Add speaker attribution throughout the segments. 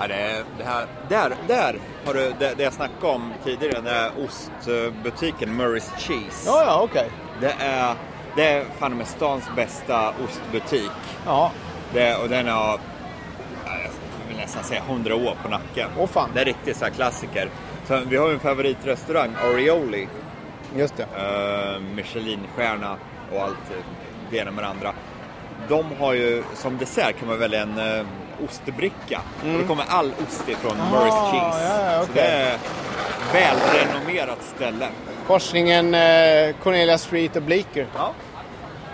Speaker 1: Ja, det, det här, där, där har du det, det jag snackade om tidigare, den där ostbutiken Murray's Cheese.
Speaker 2: Ja, ja, okej.
Speaker 1: Det är, det är fan med stans bästa ostbutik.
Speaker 2: Ja,
Speaker 1: Det, och den har, ja, jag vill nästan säga 100 år på nacken.
Speaker 2: Åh, fan.
Speaker 1: Det är riktigt så här klassiker. Så vi har ju en favoritrestaurang, Orioli.
Speaker 2: just det.
Speaker 1: eh, Michelinstjärna och allt eh, det ena med det andra. De har ju, som dessert kan man välja en eh, ostbricka. Och då kommer all ost ifrån Murray's Cheese.
Speaker 2: Mm. Ah, ja, ja,
Speaker 1: Så
Speaker 2: okej.
Speaker 1: det är ett välrenommerat ställe.
Speaker 2: Korsningen eh, Cornelia Street och Bleecker.
Speaker 1: Ja.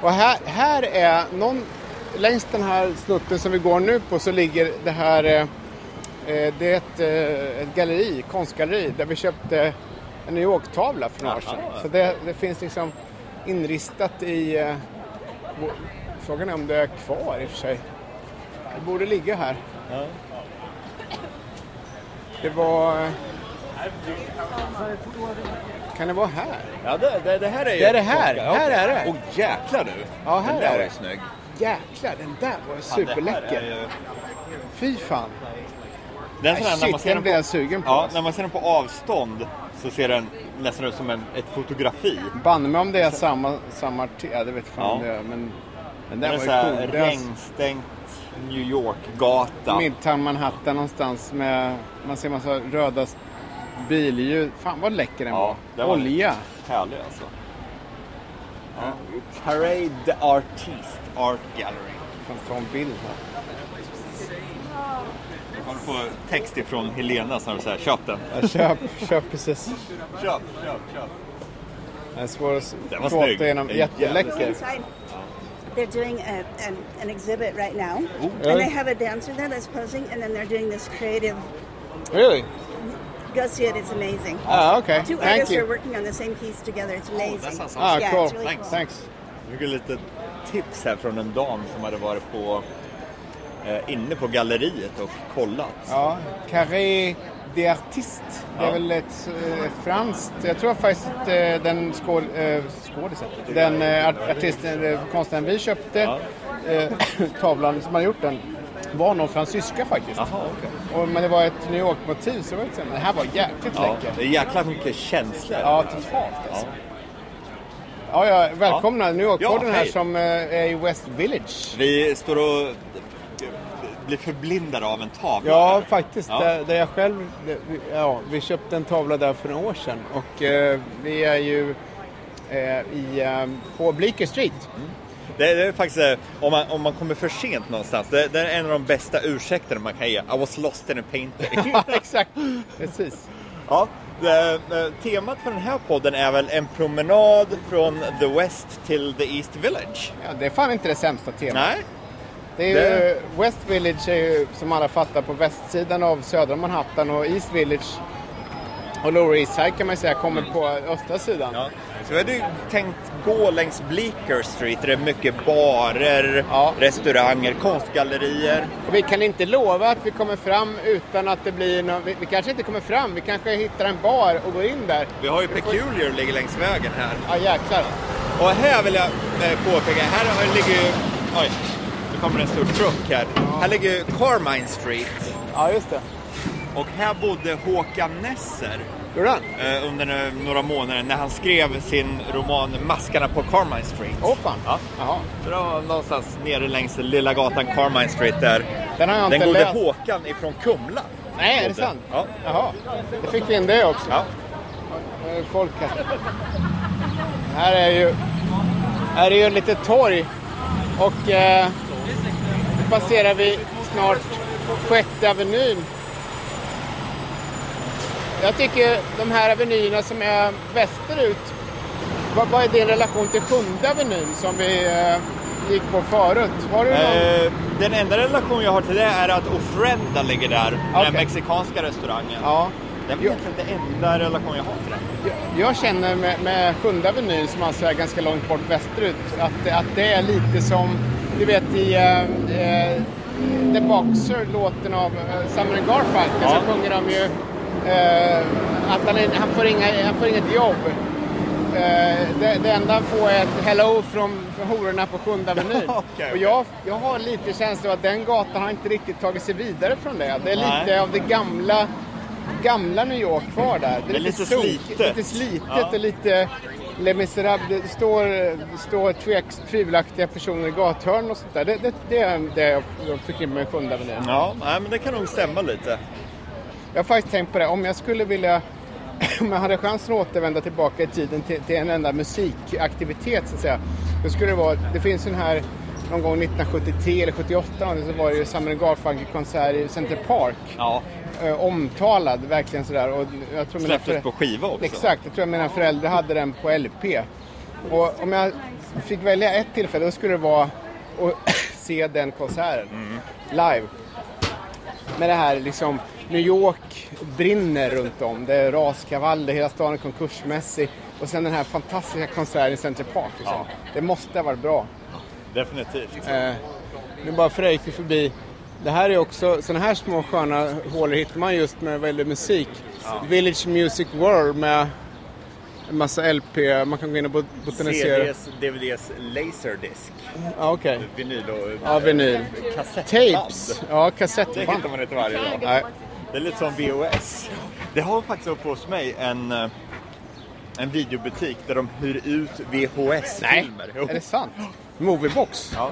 Speaker 2: Och här, här är någon, längs den här snutten som vi går nu på så ligger det här, eh, eh, det är ett, eh, ett galleri, konstgalleri, där vi köpte en New York-tavla för några år sedan.
Speaker 1: Jaha.
Speaker 2: Så det, det finns liksom inristat i, eh, bo- frågan är om det är kvar i och för sig. Det borde ligga här. Det var, eh, kan det vara här?
Speaker 1: Ja, det, det, det här är ju...
Speaker 2: Det är det här.
Speaker 1: Ja,
Speaker 2: Här är det.
Speaker 1: Åh jäklar du!
Speaker 2: Ja, här
Speaker 1: den
Speaker 2: är
Speaker 1: där
Speaker 2: det.
Speaker 1: är snygg.
Speaker 2: Jäklar, den där var
Speaker 1: Fan, det här
Speaker 2: superläcker.
Speaker 1: är ju-
Speaker 2: Fy fan.
Speaker 1: Den
Speaker 2: Nej,
Speaker 1: sån här, när
Speaker 2: Äh, shit,
Speaker 1: man ser
Speaker 2: den
Speaker 1: den
Speaker 2: blev
Speaker 1: på,
Speaker 2: jag sugen på,
Speaker 1: Ja,
Speaker 2: alltså.
Speaker 1: när man ser den på avstånd så ser den nästan ut som en, ett fotografi.
Speaker 2: Banne mig om det är samma, samma te, ja, det vet fan
Speaker 1: Ja.
Speaker 2: om det är, men den
Speaker 1: Det
Speaker 2: där
Speaker 1: är
Speaker 2: var
Speaker 1: så
Speaker 2: ju
Speaker 1: här
Speaker 2: cool. Det är alltså
Speaker 1: regnstängt New York-gata.
Speaker 2: Midtown Manhattan någonstans med, man ser massa röda billjus. Fan vad läcker den
Speaker 1: Ja,
Speaker 2: var.
Speaker 1: den var
Speaker 2: Olja.
Speaker 1: Härlig alltså. Ja. Parade the Artist Art Gallery.
Speaker 2: Fan, ta en bild här.
Speaker 1: Kommer få text ifrån Helena som säger köp den.
Speaker 2: Ja, Köp, köp precis.
Speaker 1: Köp, köp, köp.
Speaker 2: Den är svår att
Speaker 1: Den var
Speaker 2: prata
Speaker 1: snygg.
Speaker 2: igenom.
Speaker 1: Den är jävligt
Speaker 2: Jätteläcker.
Speaker 1: snygg.
Speaker 3: Inside, they're doing a, an, an exhibit right now,
Speaker 2: Really?
Speaker 3: and they have a dancer there that's posing, and then they're doing this creative.
Speaker 2: Really?
Speaker 3: Go see it; it's amazing.
Speaker 2: Ah, okay.
Speaker 3: Two
Speaker 2: Thank
Speaker 3: artists are
Speaker 2: you.
Speaker 3: working on the same piece together. It's amazing.
Speaker 1: Oh, sounds
Speaker 2: Ah,
Speaker 3: yeah,
Speaker 2: cool.
Speaker 3: it's really
Speaker 1: Thanks.
Speaker 3: cool.
Speaker 2: Thanks.
Speaker 1: Jag fick lite tips här från en dam som hade varit på eh, inne på galleriet och kollat.
Speaker 2: Ja, Carré des Artistes. Det är
Speaker 1: Ja.
Speaker 2: väl ett eh, franskt... Jag tror faktiskt att eh, den skål, eh, skådisen, den eh, art- artisten, eh, konstnären vi köpte eh, tavlan som har gjort den var någon fransyska faktiskt.
Speaker 1: Jaha, okej.
Speaker 2: Och, men det var ett New York-motiv så det var inte så- men det här var jäkligt
Speaker 1: Ja,
Speaker 2: läckert.
Speaker 1: det är jäkla mycket känslor.
Speaker 2: Ja, totalt alltså. Ja, ja, välkomna.
Speaker 1: Ja.
Speaker 2: New York-podden
Speaker 1: Ja,
Speaker 2: här
Speaker 1: hej.
Speaker 2: som eh, är i West Village.
Speaker 1: Vi står och blir förblindade av en tavla.
Speaker 2: Ja,
Speaker 1: här.
Speaker 2: faktiskt.
Speaker 1: Ja.
Speaker 2: Där, där jag själv, det- vi- ja, vi köpte en tavla där för några år sedan och eh, vi är ju eh, i, eh, på Bleecker Street.
Speaker 1: Mm. Det, det är faktiskt, eh, om man, om man kommer för sent någonstans, det, det är en av de bästa ursäkterna man kan ge. I was lost in a painting.
Speaker 2: Ja, exakt. Precis.
Speaker 1: ja, det, eh, temat för den här podden är väl en promenad från the West till the East Village?
Speaker 2: Ja, det är fan inte det sämsta temat.
Speaker 1: Nej?
Speaker 2: Det är ju,
Speaker 1: det-
Speaker 2: West Village är ju, som alla fattar, på västsidan av södra Manhattan och East Village och Lower East Side kan man säga kommer på östra sidan.
Speaker 1: Mm. Ja. Så vi hade ju tänkt gå längs Bleecker Street där det är mycket barer,
Speaker 2: Ja.
Speaker 1: restauranger, konstgallerier.
Speaker 2: Och vi kan inte lova att vi kommer fram utan att det blir någon, vi, vi kanske inte kommer fram, vi kanske hittar en bar och går in där.
Speaker 1: Vi har ju Peculiar ligger längs vägen här.
Speaker 2: Ja, jäklar.
Speaker 1: Och här vill jag eh, påpeka, här har- ligger ju... Oj, nu kommer en stor truck här. Här ligger ju Carmine Street.
Speaker 2: Ja, just det.
Speaker 1: Och här bodde Håkan Nesser
Speaker 2: Gjorde han?
Speaker 1: eh, under eh, några månader när han skrev sin roman Maskarna på Carmine Street.
Speaker 2: Åh fan.
Speaker 1: Ja.
Speaker 2: Jaha.
Speaker 1: Så det var någonstans nere längs lilla gatan Carmine Street där.
Speaker 2: Den har jag
Speaker 1: Den
Speaker 2: inte
Speaker 1: gode
Speaker 2: läst.
Speaker 1: Håkan ifrån Kumla.
Speaker 2: Nej, är det
Speaker 1: bodde.
Speaker 2: sant?
Speaker 1: Ja.
Speaker 2: Jaha. Då fick vi in det också.
Speaker 1: ja.
Speaker 2: Eh, Folk här. Här är ju, här är ju lite torg. Och eh, nu passerar vi snart sjätte avenyn. Jag tycker de här avenyerna som är västerut. Vad, vad är din relation till sjunde avenyn som vi eh, gick på förut? Har du någon?
Speaker 1: Eh, den enda relation jag har till det är att Ofrenda ligger där,
Speaker 2: Okej.
Speaker 1: den mexikanska restaurangen.
Speaker 2: Ja.
Speaker 1: Det är väl
Speaker 2: Jo.
Speaker 1: egentligen den enda relation jag har till den.
Speaker 2: Jag- Jag känner med, med Sjunde Avenyn, som alltså är ganska långt bort västerut, att, att det är lite som, du vet i eh, eh, The Boxer, låten av eh, Simon Garfunkel,
Speaker 1: Ja.
Speaker 2: så sjunger de ju Eh, att han, är, han, får inga, han får inget jobb. Eh, det, det enda han får är ett hello från från hororna på sjunde avenyn.
Speaker 1: Ja, okej,
Speaker 2: Och jag, jag har lite känsla av att den gatan har inte riktigt tagit sig vidare från det. Det är
Speaker 1: Nej.
Speaker 2: lite av det gamla, gamla New York kvar där.
Speaker 1: Det är lite
Speaker 2: sunkigt,
Speaker 1: slitet.
Speaker 2: Lite slitet
Speaker 1: Ja.
Speaker 2: och lite Les Misérables. Det står, det står tveks, tvivelaktiga personer i gathörn och sånt där. Det, det, det är det jag jag förknippar med sjunde avenyn.
Speaker 1: Ja, nej, men det kan nog stämma lite.
Speaker 2: Jag har faktiskt tänkt på det, om jag skulle vilja om jag hade chansen att återvända tillbaka i tiden till, till en enda musikaktivitet så att säga. Då skulle det vara, det finns ju den här någon gång 1973 eller 78 någonting, så var det ju Simon Garfunkel-konsert i Center Park.
Speaker 1: Ja.
Speaker 2: Eh, omtalad, verkligen sådär. Och jag tror mina
Speaker 1: Släpptes
Speaker 2: förä-
Speaker 1: på skiva också.
Speaker 2: Exakt, jag tror mina föräldrar hade den på LP. Och om jag fick välja ett tillfälle då skulle det vara att se den konserten live. Med det här liksom, New York brinner runt om. Det är raskavaller, hela staden är konkursmässig. Och sen den här fantastiska konserten i Center Park. Liksom.
Speaker 1: Ja.
Speaker 2: Det måste ha varit bra.
Speaker 1: Definitivt.
Speaker 2: Eh, nu bara fröjk vi förbi. Det här är också, sådana här små sköna hålor hittar man just med vad gäller musik. Village Music World med en massa LP, man kan gå in och bot- botanisera.
Speaker 1: CDs, DVDs, Laserdisc,
Speaker 2: Ja, okej.
Speaker 1: vinyl och
Speaker 2: Ja, vinyl.
Speaker 1: kassettband.
Speaker 2: Tapes, ja
Speaker 1: Det
Speaker 2: kassettband.
Speaker 1: hittar man inte varje dag.
Speaker 2: Nej.
Speaker 1: Det är lite som VHS. Det har faktiskt uppe hos mig en, eh, en videobutik där de hyr ut
Speaker 2: Nej,
Speaker 1: VHS-filmer. Jo.
Speaker 2: är det sant? Moviebox?
Speaker 1: Ja.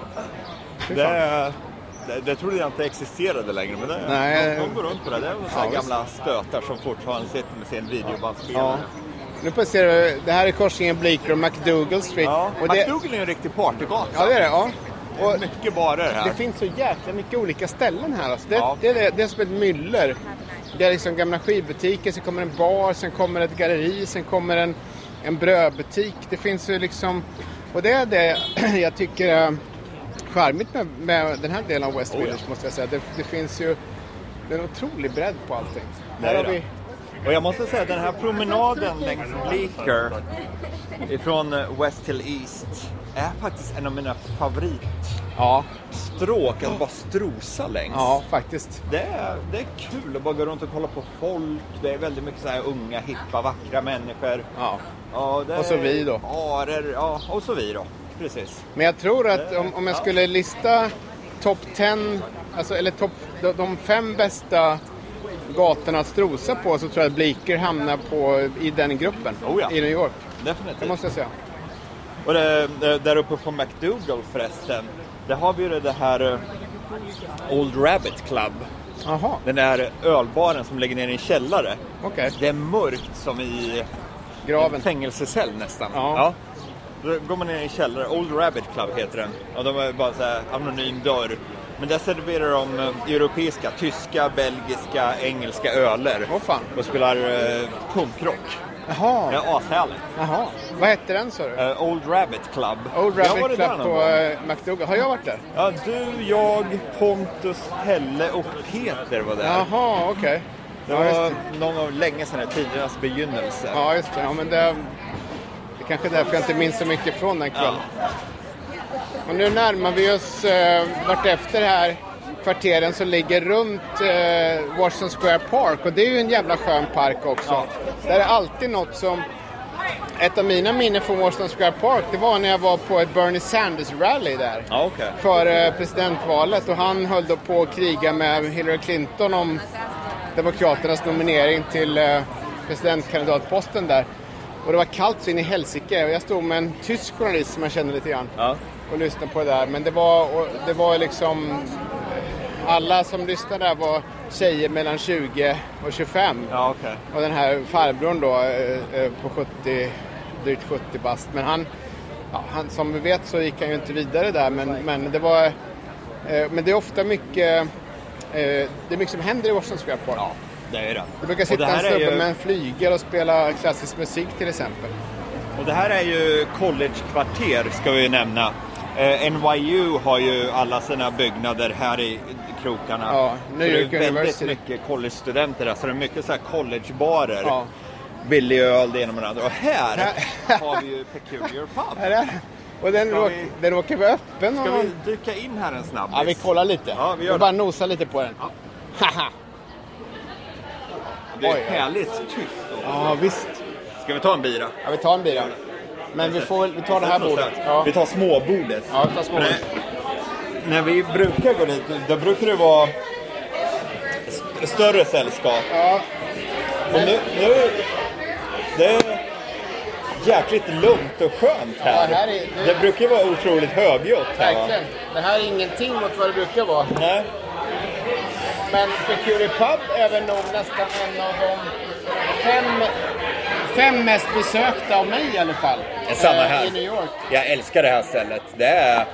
Speaker 1: Det, det, det trodde jag inte existerade längre, men det,
Speaker 2: Nej.
Speaker 1: de, de går runt på det. Det är väl så här
Speaker 2: Ja,
Speaker 1: gamla stötar som fortfarande sitter med sin
Speaker 2: Ja.
Speaker 1: videobandspelare.
Speaker 2: Nu passerar vi, det här är korsningen Bleecker och McDougal Street.
Speaker 1: Ja.
Speaker 2: Och det,
Speaker 1: McDougal är ju en riktig partygata.
Speaker 2: ja, det är det. Ja. Och
Speaker 1: Mycket barer här.
Speaker 2: Det finns så jäkla mycket olika ställen här. Alltså. Det,
Speaker 1: Ja.
Speaker 2: det, det, det är som ett myller. Det är liksom gamla skivbutiker, sen kommer en bar, sen kommer ett galleri, sen kommer en, en brödbutik. Det finns ju liksom... Och det är det jag tycker är charmigt med, med den här delen av West
Speaker 1: Oh, ja.
Speaker 2: Village, måste jag säga. Det, det finns ju... Det är en otrolig bredd på allting.
Speaker 1: Det
Speaker 2: Här
Speaker 1: är
Speaker 2: har
Speaker 1: det.
Speaker 2: vi...
Speaker 1: Och jag måste säga den här promenaden längs Bleecker ifrån eh, West till East är faktiskt en av mina favoritstråk
Speaker 2: Ja,
Speaker 1: att bara strosa längs.
Speaker 2: ja faktiskt.
Speaker 1: Det, är, det är kul att bara gå runt och kolla på folk. Det är väldigt mycket så här unga, hippa, vackra människor.
Speaker 2: Ja.
Speaker 1: Ja, det
Speaker 2: Och så
Speaker 1: är
Speaker 2: vi då.
Speaker 1: Barer, ja, och så vi då. Precis.
Speaker 2: Men jag tror att om, om jag
Speaker 1: Ja.
Speaker 2: skulle lista topp 10, alltså, eller top, de, de fem bästa gatorna att strosa på så tror jag att Bleeker hamnar på, i den gruppen
Speaker 1: Oh ja.
Speaker 2: i New York. Det
Speaker 1: Definitivt.
Speaker 2: måste jag säga.
Speaker 1: Och det, det- där uppe på McDougal förresten, där har vi ju det här eh, Old Rabbit Club.
Speaker 2: Jaha,
Speaker 1: Den där ölbaren som ligger nere i en källare.
Speaker 2: okej.
Speaker 1: Det är mörkt som i en
Speaker 2: Graven.
Speaker 1: fängelsecell nästan.
Speaker 2: Ja.
Speaker 1: Då går man ner i en källare. Old Rabbit Club heter den. Och de är bara så här anonym dörr. Men där serverar de eh, europeiska, tyska, belgiska, engelska öler.
Speaker 2: Åh, fan.
Speaker 1: Och spelar eh, punkrock. Det
Speaker 2: Jaha,
Speaker 1: är ashärligt.
Speaker 2: jaha. Vad hette den sa du?
Speaker 1: Eh, Old Rabbit Club.
Speaker 2: Old
Speaker 1: Jag har
Speaker 2: Rabbit
Speaker 1: varit där
Speaker 2: Club
Speaker 1: någon
Speaker 2: på
Speaker 1: gång.
Speaker 2: eh, McDougal. Har jag varit där?
Speaker 1: Ja, du, jag, Pontus, Pelle och Peter var där.
Speaker 2: Jaha, okej.
Speaker 1: Det
Speaker 2: Ja,
Speaker 1: var
Speaker 2: just det.
Speaker 1: någon av länge sedan, tidernas begynnelse.
Speaker 2: Ja, just det. Ja, men det, det är kanske är därför jag inte minns så mycket från den kvällen. Och nu närmar vi oss eh, vartefter här kvarteren som ligger runt eh, Washington Square Park och det är ju en jävla skön park också.
Speaker 1: Ja.
Speaker 2: Där är alltid något som... Ett av mina minnen från Washington Square Park det var när jag var på ett Bernie Sanders-rally där
Speaker 1: Ja, okej.
Speaker 2: före presidentvalet och han höll då på att kriga med Hillary Clinton om Demokraternas nominering till eh, presidentkandidatposten där. Och det var kallt så in i helsike och jag stod med en tysk journalist som jag kände lite grann
Speaker 1: Ja.
Speaker 2: och lyssnade på det där. Men det var, och det var liksom... eh, Alla som lyssnade där var tjejer mellan 20 och 25.
Speaker 1: Ja, okej.
Speaker 2: Och den här farbrorn då eh, eh, på 70, drygt 70 bast. Men han, ja, han, som vi vet så gick han ju inte vidare där. Men, men det var, eh, men det är ofta mycket, eh, det är mycket som händer i Washington Square Park.
Speaker 1: Ja, det är det.
Speaker 2: Det brukar
Speaker 1: Och
Speaker 2: sitta en
Speaker 1: här är
Speaker 2: snubbe
Speaker 1: ju-
Speaker 2: med en flygel och spela klassisk musik till exempel.
Speaker 1: Och det här är ju collegekvarter, ska vi ju nämna. Eh, NYU har ju alla sina byggnader här i krokarna.
Speaker 2: Ja,
Speaker 1: Så
Speaker 2: New York
Speaker 1: det är väldigt
Speaker 2: University.
Speaker 1: mycket collegestudenter där, så det är mycket så här collegebarer.
Speaker 2: Ja.
Speaker 1: Billig öl, det ena med det andra. Och här
Speaker 2: Här-
Speaker 1: har vi ju Peculiar
Speaker 2: Här
Speaker 1: Pub.
Speaker 2: är den. Och den,
Speaker 1: Ska
Speaker 2: råk,
Speaker 1: vi-
Speaker 2: den råkar vara öppen.
Speaker 1: Ska
Speaker 2: om
Speaker 1: vi
Speaker 2: man-
Speaker 1: dyka in här en snabbis?
Speaker 2: Ja, vi kollar lite.
Speaker 1: Ja, vi gör
Speaker 2: bara nosar lite på den.
Speaker 1: Ja.
Speaker 2: Haha.
Speaker 1: Det är
Speaker 2: Oj, ja.
Speaker 1: härligt tyst. då.
Speaker 2: Ja, visst.
Speaker 1: Ska vi ta en bira?
Speaker 2: Ja, vi tar en bira. Men vi får väl- vi tar det här bordet. Ja,
Speaker 1: Vi tar småbordet.
Speaker 2: ja vi tar småbordet.
Speaker 1: När- När vi brukar gå dit, då brukar det vara s- större sällskap.
Speaker 2: Ja.
Speaker 1: Och nu, nu... Det är jäkligt lugnt och skönt här.
Speaker 2: Ja, här är- det-
Speaker 1: det... brukar ju vara otroligt högljutt här. va?
Speaker 2: Verkligen. Det här är ingenting mot vad det brukar vara.
Speaker 1: Nej.
Speaker 2: Men The Curie Pub är väl nog nästan en av de fem, fem mest besökta av mig i alla fall.
Speaker 1: Det är Samma
Speaker 2: Eh,
Speaker 1: här.
Speaker 2: I New York.
Speaker 1: Jag älskar det här stället. Det är,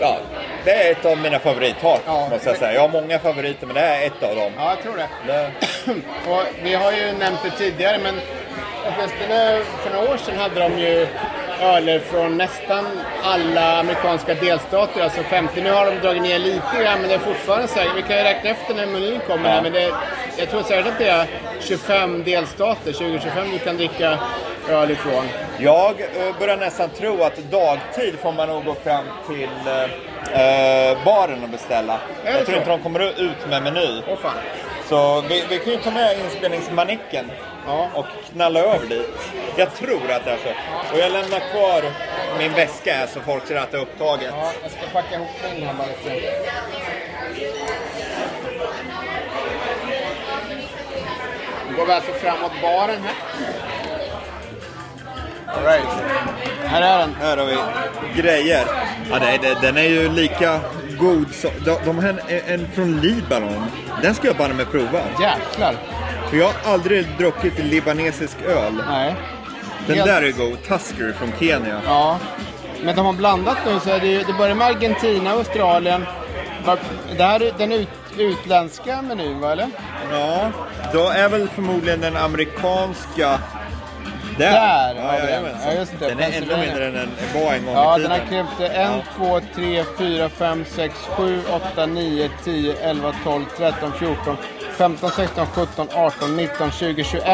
Speaker 1: ja, det är ett av mina favorittak,
Speaker 2: Ja.
Speaker 1: måste jag säga. Jag har många favoriter, men det här är ett av dem.
Speaker 2: Ja, jag tror det.
Speaker 1: Det,
Speaker 2: Och vi har ju nämnt det tidigare, men åtminstone för några år sedan hade de ju öler från nästan alla amerikanska delstater, alltså 50. Nu har de dragit ner lite grann, men det är fortfarande så här. Vi kan ju räkna efter när menyn kommer här,
Speaker 1: Ja.
Speaker 2: men det, jag tror säkert att det är 25 delstater, 20-25 du kan dricka öl ifrån.
Speaker 1: jag eh, börjar nästan tro att dagtid får man nog gå fram till eh, baren och beställa.
Speaker 2: det
Speaker 1: Jag tror
Speaker 2: så?
Speaker 1: inte de kommer ut med meny.
Speaker 2: Åh fan.
Speaker 1: Så vi, vi kan ju ta med inspelningsmanicken
Speaker 2: Ja.
Speaker 1: och knalla över dit. Jag tror att det är så. Och jag lämnar kvar min väska här så folk ser att det är upptaget.
Speaker 2: Ja, jag ska packa ihop min här bara lite. Nu går vi alltså framåt baren här.
Speaker 1: All right.
Speaker 2: Här är den.
Speaker 1: Här har vi grejer. Ja, det, det, den är ju lika god som... De, de här är en från Libanon. Den ska jag banne mig prova.
Speaker 2: Jäklar.
Speaker 1: För jag har aldrig druckit libanesisk öl.
Speaker 2: Nej.
Speaker 1: Den
Speaker 2: Helt-
Speaker 1: där är god. Tusker från Kenya.
Speaker 2: Ja. Men de har blandat nu så är det, ju, det börjar med Argentina, Australien. Var- Det här är den ut, utländska menyn va eller?
Speaker 1: Ja, då är väl förmodligen den amerikanska... Där!
Speaker 2: Där
Speaker 1: ja,
Speaker 2: har vi den.
Speaker 1: jajamensan.
Speaker 2: Ja, just det.
Speaker 1: Den är ännu
Speaker 2: Pennsylvania.
Speaker 1: mindre än den var en gång
Speaker 2: Ja,
Speaker 1: i
Speaker 2: den
Speaker 1: tiden.
Speaker 2: har krympt till 1, 2, 3, 4, 5, 6, 7, 8, 9, 10, 11, 12, 13, 14, 15, 16, 17, 18, 19, 20, 21,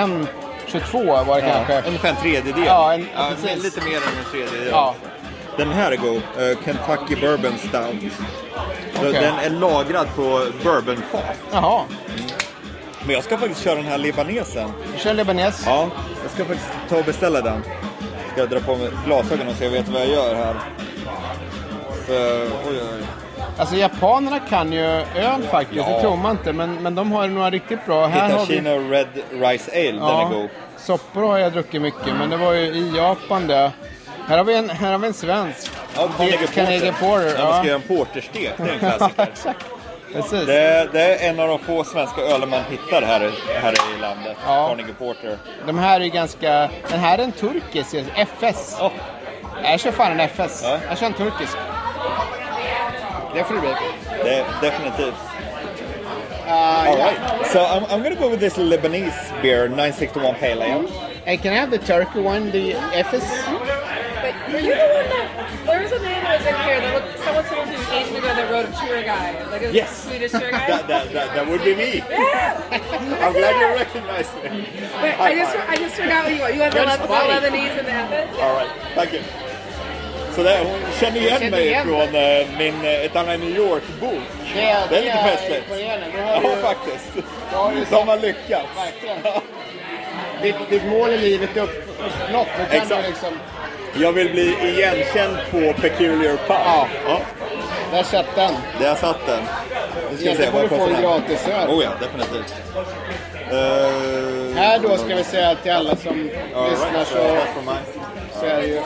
Speaker 2: 22 var det
Speaker 1: Ja,
Speaker 2: kanske.
Speaker 1: ungefär en tredjedel.
Speaker 2: Ja, en-
Speaker 1: ja,
Speaker 2: precis.
Speaker 1: men lite mer än en tredjedel.
Speaker 2: Ja.
Speaker 1: Den här är god. Eh, Kentucky Bourbon Stout. Så
Speaker 2: Okej.
Speaker 1: Den är lagrad på bourbonfat.
Speaker 2: Jaha,
Speaker 1: Men jag ska faktiskt köra den här libanesen.
Speaker 2: vi kör libanes.
Speaker 1: Ja. Jag ska faktiskt ta och beställa den. Ska jag dra på mig glasögonen så jag vet vad jag gör här. Så, oj, oj.
Speaker 2: Alltså japanerna kan ju öl faktiskt,
Speaker 1: Ja.
Speaker 2: det tror man inte. Men, men de har ju några riktigt bra. Här har vi,
Speaker 1: Hitachino Red Rice Ale, den är god.
Speaker 2: soppor har jag druckit mycket, men det var ju i Japan det. Här har vi en, här har vi en svensk.
Speaker 1: Ja,
Speaker 2: Carnegie Porter,
Speaker 1: Ja, man ska
Speaker 2: ja.
Speaker 1: göra en porterstek, det är en klassiker.
Speaker 2: Exakt. Precis.
Speaker 1: Det, det är en av de få svenska öler man hittar här, här i landet.
Speaker 2: Ja.
Speaker 1: Carnegie Porter.
Speaker 2: De här är ju ganska... Den här är en turkisk, FS.
Speaker 1: Ja.
Speaker 2: Nej, Jag kör fan en FS.
Speaker 1: Ja.
Speaker 2: Jag kör en turkisk. Det får det bli.
Speaker 1: Det är definitivt.
Speaker 2: Uh,
Speaker 1: All right. So I'm, I'm gonna go with this Lebanese beer, 961 Pale Ale.
Speaker 2: And can I have the turkey one, the FS?
Speaker 4: But were you the one that there was a man that was in here that looked someone someone who was ages ago that wrote a tour guide, like a
Speaker 1: Yes.
Speaker 4: Swedish tour
Speaker 1: That,
Speaker 4: guide?
Speaker 1: that, that, that would be me.
Speaker 4: yeah.
Speaker 1: I'm glad you recognized me.
Speaker 4: But I just I just forgot what you want. You want the,
Speaker 2: That's
Speaker 4: Le- the
Speaker 2: funny.
Speaker 4: Lebanese and the Ethos?
Speaker 1: All right. Thank you. Så där, hon känner igen
Speaker 2: känner
Speaker 1: mig
Speaker 2: igen
Speaker 1: från eh, min, eh, ett annat New York-bok.
Speaker 2: Det är,
Speaker 1: Det är lite festligt.
Speaker 2: imponerande. Du
Speaker 1: Ja,
Speaker 2: har ju-
Speaker 1: faktiskt.
Speaker 2: har du
Speaker 1: De
Speaker 2: sett.
Speaker 1: har lyckats.
Speaker 2: Verkligen.
Speaker 1: Ja.
Speaker 2: Ditt, ditt mål i livet är upp, uppnått. Då kan
Speaker 1: Exakt.
Speaker 2: du liksom...
Speaker 1: Jag vill bli igenkänd på Peculiar Pub.
Speaker 2: Ja. Där satt den.
Speaker 1: Där satt den. Nu ska vi se,
Speaker 2: Egentligen borde
Speaker 1: vad
Speaker 2: du få
Speaker 1: kostar
Speaker 2: en
Speaker 1: den?
Speaker 2: gratis öl.
Speaker 1: Oh ja, definitivt. Eh,
Speaker 2: Här då ska vi säga till alla som
Speaker 1: all right,
Speaker 2: lyssnar
Speaker 1: so
Speaker 2: så,
Speaker 1: that's for mine.
Speaker 2: så är det ju...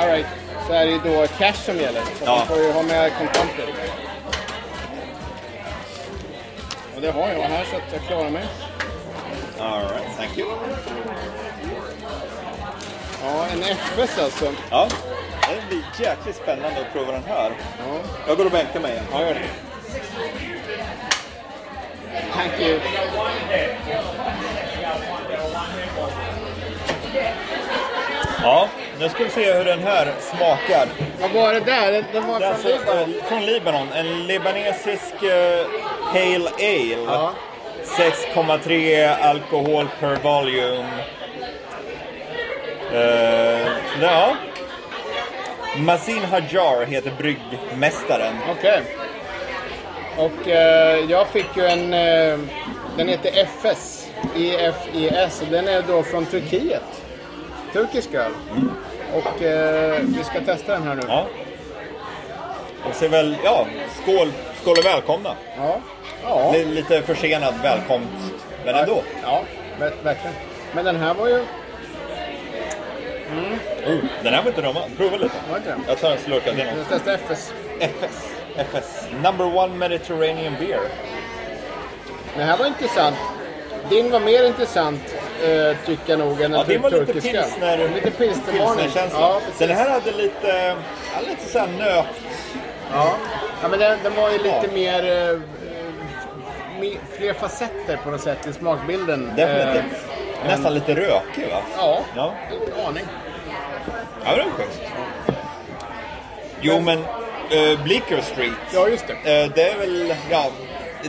Speaker 2: All right, så är det ju då cash som gäller. Så
Speaker 1: Ja.
Speaker 2: man får ju ha med kontanter. Och det har jag här så att jag klarar mig.
Speaker 1: All right, thank you.
Speaker 2: Ja, en FS alltså.
Speaker 1: Ja, det blir jäkligt spännande att prova den här.
Speaker 2: Ja,
Speaker 1: Jag går och bänkar mig igen.
Speaker 2: ja gör det. Thank you.
Speaker 1: Ja, nu ska vi se hur den här smakar.
Speaker 2: Vad var det där? Det var
Speaker 1: Det är alltså,
Speaker 2: från Libanon.
Speaker 1: eh, från Libanon, en libanesisk eh, Pale Ale.
Speaker 2: Ja.
Speaker 1: 6,3 alkohol per volume. Eh, ja. Mazin Hajar heter bryggmästaren.
Speaker 2: Okej. Och eh, jag fick ju en... Eh, den heter FS. EFES. Den är då från Turkiet. Turkisk öl. Och eh, vi ska testa den här nu.
Speaker 1: Ja. Och ser väl, ja, skål, skål och välkomna.
Speaker 2: Ja. Ja.
Speaker 1: Li- Lite försenad välkomst, men ändå.
Speaker 2: Ja, ver- verkligen. Men den här var ju...
Speaker 1: Uh, den här var inte dum, va? prova lite.
Speaker 2: Var inte den?
Speaker 1: Jag tar en slurk av den
Speaker 2: Jag
Speaker 1: också.
Speaker 2: testade FS.
Speaker 1: FS. FS. Number one Mediterranean beer.
Speaker 2: Den här var intressant. Din var mer intressant eh, tycker jag nog än den
Speaker 1: Ja, det var lite
Speaker 2: turkiska.
Speaker 1: pilsner...
Speaker 2: Lite pilsnervarning.
Speaker 1: pilsnerkänsla.
Speaker 2: Ja, precis.
Speaker 1: den här hade lite, ja, lite såhär nöt...
Speaker 2: Ja. ja, men den, den var ju lite
Speaker 1: Ja.
Speaker 2: mer... eh, eh, me- fler facetter på något sätt i smakbilden.
Speaker 1: Definitivt.
Speaker 2: Eh,
Speaker 1: Nästan lite rökig va?
Speaker 2: ja,
Speaker 1: Ja.
Speaker 2: en aning.
Speaker 1: Ja, det var schysst. Jo, men uh, Bleecker Street.
Speaker 2: Ja, just det.
Speaker 1: Eh, det är väl, ja...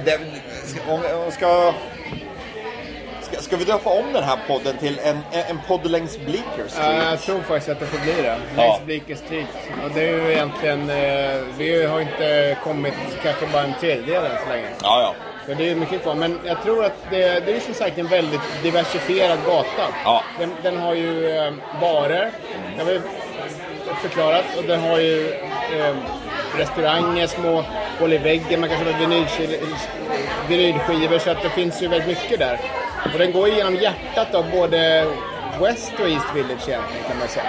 Speaker 1: Det är, väl- ska- om, om ska, ska... Ska vi döpa om den här podden till en, en podd längs Bleecker Street?
Speaker 2: Ja, Eh, jag tror faktiskt att det får bli det.
Speaker 1: Ja.
Speaker 2: Längs Bleaker Street. Och det är ju egentligen... Eh, vi har ju inte kommit kanske bara en tredjedel än så länge.
Speaker 1: Ja, ja.
Speaker 2: Så det är mycket kvar. Men jag tror att det, det är som sagt en väldigt diversifierad gata.
Speaker 1: Ja.
Speaker 2: Den, den har ju eh, barer, det har vi förklarat. Och den har ju eh, restauranger, små hål i väggen, man kan köpa vinylskil- vinylskivor. Så att det finns ju väldigt mycket där. Och den går ju genom hjärtat av både West och East Village egentligen kan man säga.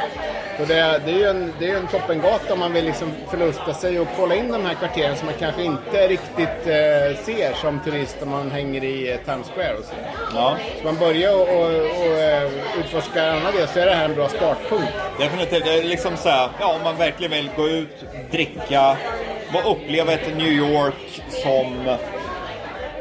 Speaker 2: Så det, det är ju en, det är ju en toppengata om man vill liksom förlusta sig och kolla in de här kvarteren som man kanske inte riktigt eh, ser som turist om man hänger i eh, Times Square och så.
Speaker 1: ja.
Speaker 2: Så man börjar och, och, och eh, utforska andra del så är det här en bra startpunkt.
Speaker 1: Definitivt. Det är liksom så här, ja, om man verkligen vill gå ut, dricka, och uppleva ett New York som,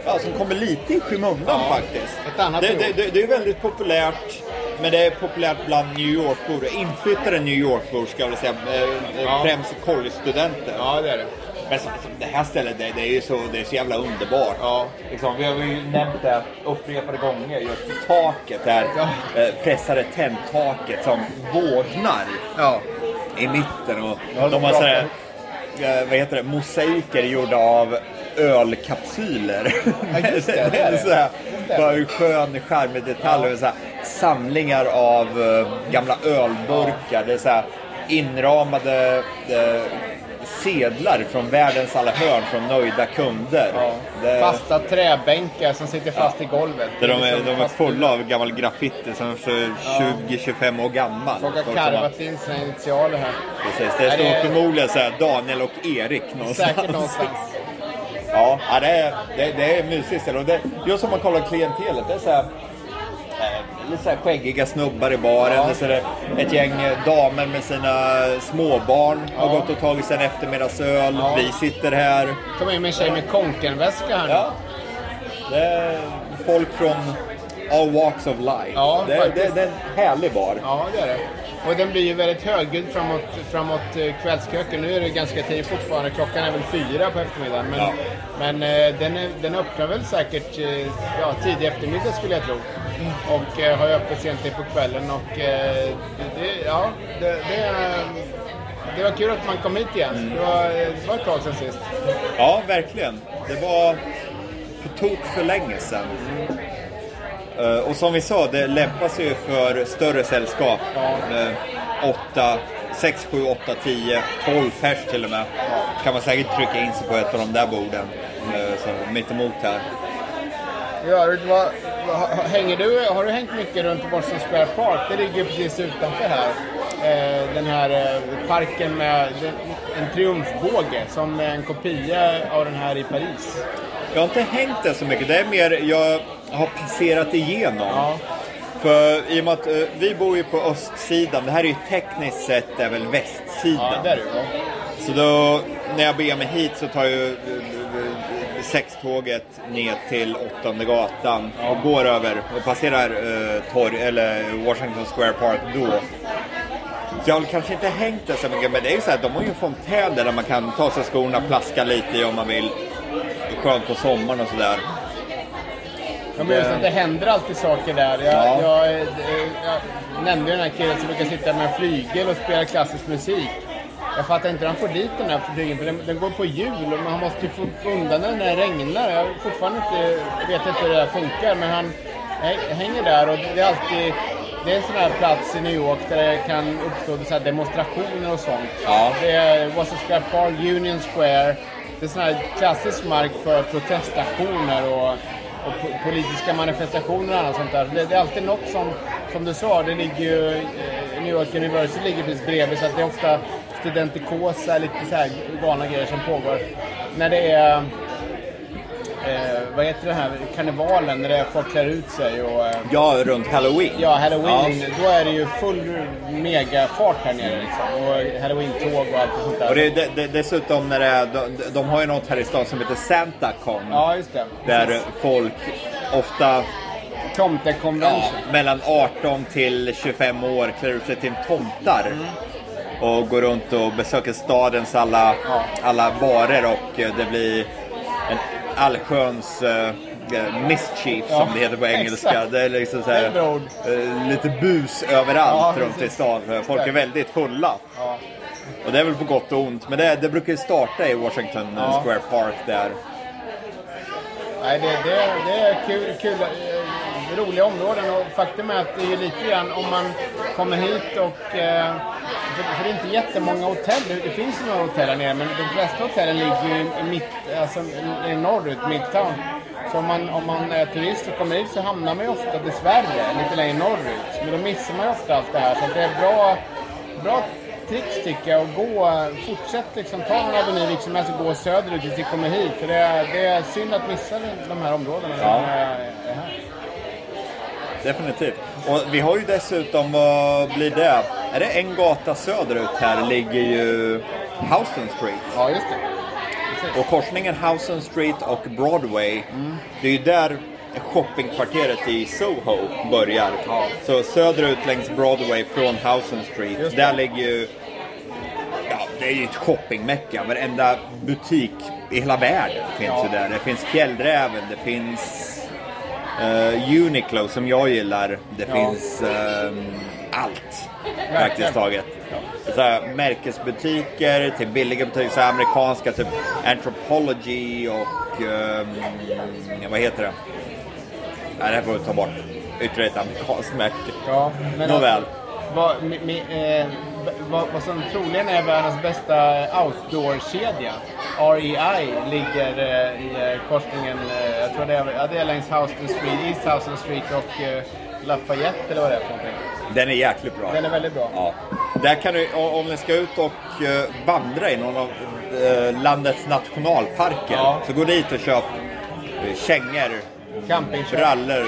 Speaker 1: ja, som kommer lite i skymundan
Speaker 2: Ja,
Speaker 1: faktiskt.
Speaker 2: ett annat
Speaker 1: det,
Speaker 2: New
Speaker 1: det,
Speaker 2: York.
Speaker 1: det, det är väldigt populärt, men det är populärt bland New Yorkbor. Inflyttade New Yorkbor ska jag väl säga, eh, eh,
Speaker 2: Ja.
Speaker 1: främst collegestudenter.
Speaker 2: Ja, det är det.
Speaker 1: Men som, som det här stället, det, det är ju så, det är så jävla underbart.
Speaker 2: Ja.
Speaker 1: Liksom, vi har ju nämnt det upprepade gånger, just taket där,
Speaker 2: Ja.
Speaker 1: eh, pressade tändtaket som bågnar
Speaker 2: Ja.
Speaker 1: i mitten och
Speaker 2: Ja,
Speaker 1: de har
Speaker 2: bra.
Speaker 1: sådär, eh, vad heter det, mosaiker gjorda av ölkapsyler.
Speaker 2: Ja, just det, det är det.
Speaker 1: Såhär,
Speaker 2: Just det.
Speaker 1: bara en skön, charmig detalj. och Såhär, samlingar av eh, gamla ölburkar. Det är såhär, inramade eh, sedlar från världens alla hörn från nöjda kunder.
Speaker 2: ja.
Speaker 1: Det,
Speaker 2: Fasta träbänkar som sitter fast i golvet.
Speaker 1: där de, är,
Speaker 2: Liksom
Speaker 1: de är
Speaker 2: fast-
Speaker 1: fulla av gammal graffiti som är så 20-25 år gammal.
Speaker 2: Folk har
Speaker 1: Folk som
Speaker 2: karvat in sina initialer här.
Speaker 1: Precis, det
Speaker 2: Ja, det
Speaker 1: står
Speaker 2: är-
Speaker 1: förmodligen så här Daniel och Erik någonstans.
Speaker 2: Säkert någonstans.
Speaker 1: Ja, ja, det är, det, det är mysigt ställe. Och det, just som man kollar klientelet, det är så här, eh, lite så här skäggiga snubbar i baren.
Speaker 2: Ja.
Speaker 1: Och så är det ett gäng eh, damer med sina småbarn har
Speaker 2: Ja.
Speaker 1: gått och tagit sig en eftermiddagsöl.
Speaker 2: Ja.
Speaker 1: Vi sitter här.
Speaker 2: Kom in med en tjej med Konken-väska här nu.
Speaker 1: Ja, det är folk från all walks of life.
Speaker 2: Ja,
Speaker 1: det, det,
Speaker 2: faktiskt.
Speaker 1: det är en härlig bar.
Speaker 2: Ja, det är det. Och den blir ju väldigt högljudd framåt, framåt eh, kvällskröken. Nu är det ganska tidigt fortfarande. Klockan är väl fyra på eftermiddagen. Men,
Speaker 1: Ja.
Speaker 2: men eh, den, är, den öppnar väl säkert eh, ja, tidig eftermiddag skulle jag tro. Och eh, har ju öppet sent in på kvällen. Och eh, det, det, ja, det, det, är- det var kul att man kom hit igen. Det, var, eh, det var ett tag sedan sist.
Speaker 1: Ja, verkligen. Det var på tok för länge sedan. Eh, Och som vi sa, det lämpar sig ju för större sällskap. Eh,
Speaker 2: Ja.
Speaker 1: 8, 6, 7, 8, 10, 12 pers till och med. Kan man säkert trycka in sig på ett av de där borden. eh, Så mitt emot här.
Speaker 2: I övrigt, vad, vad, ha- hänger du, har du hängt mycket runt Boston Square Park? Det ligger ju precis utanför här. Eh, den här eh, parken med den, en triumfbåge som är en kopia av den här i Paris.
Speaker 1: Jag har inte hängt det så mycket. Det är mer, jag har passerat igenom.
Speaker 2: Ja,
Speaker 1: För i och med att eh, vi bor ju på östsidan. Det här är ju tekniskt sett är väl västsidan.
Speaker 2: ja där är du. Ja.
Speaker 1: Så då, när jag beger mig hit så tar jag eh, eh, sextåget ner till Åttonde gatan och går över och passerar eh, torg, eller Washington Square Park då. Så jag har väl kanske inte hängt det så mycket, men det är ju så här, de har ju en fontän där man kan ta sig skorna, plaska lite i om man vill. Det är Skönt på sommaren och sådär.
Speaker 2: Ja, men just att det händer alltid saker där. Jag,
Speaker 1: Ja.
Speaker 2: jag, eh, jag nämnde ju den här killen som brukar sitta med en flygel och spela klassisk musik. Jag fattar inte hur han får dit den här flygeln, för den, den går på hjul och man måste ju få undan den när det regnar. Jag har fortfarande inte, vet inte hur det här funkar, men han, hä- hänger där och det är alltid det är en sån här plats i New York där det kan uppstå så här demonstrationer och sånt.
Speaker 1: Ja.
Speaker 2: Det är Washington Square Park, Eh, Union Square. Det är sån här klassisk mark för protestaktioner och, och po- politiska manifestationer och annat sånt där. Det, det är alltid något som, som du sa, det ligger ju, eh, New York University ligger precis bredvid så att det är ofta studentikosa, lite så här galna grejer som pågår. När det är eh, vad heter det här, karnevalen när det är folk klär ut sig och eh,
Speaker 1: Ja, runt halloween.
Speaker 2: ja, halloween, då är det ju full megafart här nere liksom. Och halloween-tåg och allt och sånt där.
Speaker 1: Och det är de, de, dessutom när det är, de, de har ju något här i stan som heter Santa Con.
Speaker 2: Ja, just det.
Speaker 1: Där
Speaker 2: Precis.
Speaker 1: folk ofta ja,
Speaker 2: Tomtekonvention.
Speaker 1: mellan 18 till 25 år klär ut sig till tomtar. Och går runt och besöker stadens alla,
Speaker 2: Mm. Ja.
Speaker 1: alla barer och eh, det blir en allsköns eh, mischief
Speaker 2: Ja,
Speaker 1: som det heter på engelska.
Speaker 2: exakt.
Speaker 1: Det är liksom så
Speaker 2: Det är ett bra
Speaker 1: här,
Speaker 2: ord.
Speaker 1: eh, lite bus överallt
Speaker 2: Ja,
Speaker 1: runt i
Speaker 2: precis.
Speaker 1: stan. för Folk är
Speaker 2: Exakt.
Speaker 1: väldigt fulla.
Speaker 2: Ja.
Speaker 1: Och det är väl på gott och ont, men det, det brukar ju starta i Washington eh,
Speaker 2: Ja.
Speaker 1: Square Park där.
Speaker 2: Nej, det, det, det är kul, kul eh, roliga områden och faktum är att det är ju lite grann om man kommer hit och eh, för, för det är inte jättemånga hotell. Det, det finns ju några hotell här nere men de flesta hotellen ligger ju i mitt, alltså, i- i norrut, midtown. Så om man, om man är turist och kommer hit så hamnar man ju ofta dessvärre lite längre norrut. Men då missar man ju ofta allt det här så att det är bra, bra tricks tycker jag att gå, fortsätt liksom ta en aveny liksom, alltså gå söderut tills ni kommer hit. För det är, det är synd att missa de här områdena.
Speaker 1: Ja.
Speaker 2: Men, eh, här.
Speaker 1: Definitivt. Och vi har ju dessutom, vad blir det? Är det en gata söderut här ligger ju Houston Street.
Speaker 2: Ja, just det.
Speaker 1: Och korsningen Houston Street och Broadway, det är ju där shoppingkvarteret i Soho börjar.
Speaker 2: Ja.
Speaker 1: Så söderut längs Broadway från Houston Street,
Speaker 2: Just
Speaker 1: där ligger ju... Ja, det är ju ett shoppingmecka. Varenda butik i hela världen finns
Speaker 2: Ja.
Speaker 1: ju där. Det finns Fjällräven, det finns eh, Uniqlo som jag gillar. Det
Speaker 2: Ja.
Speaker 1: finns ehm, allt praktiskt taget. Så här, märkesbutiker till billiga butiker, så här amerikanska typ Anthropology och ehm, vad heter det? Nej, det här får vi ta bort. Ytterligare ett amerikanskt märke.
Speaker 2: Ja, men
Speaker 1: Nåväl.
Speaker 2: alltså, Vad, mi, mi, eh, v- vad, vad som troligen är världens bästa outdoor-kedja, REI, ligger eh, i eh, korsningen, eh, jag tror det är, ja, det är längs Houston Street, East Houston Street och eh, Lafayette eller vad det är för någonting.
Speaker 1: Den är jäkligt bra.
Speaker 2: Den är väldigt bra.
Speaker 1: Ja. Där kan du, o- om ni ska ut och eh, vandra i någon av eh, landets nationalparker,
Speaker 2: Ja.
Speaker 1: så gå dit och köp eh, kängor,
Speaker 2: Campingkök.
Speaker 1: brallor,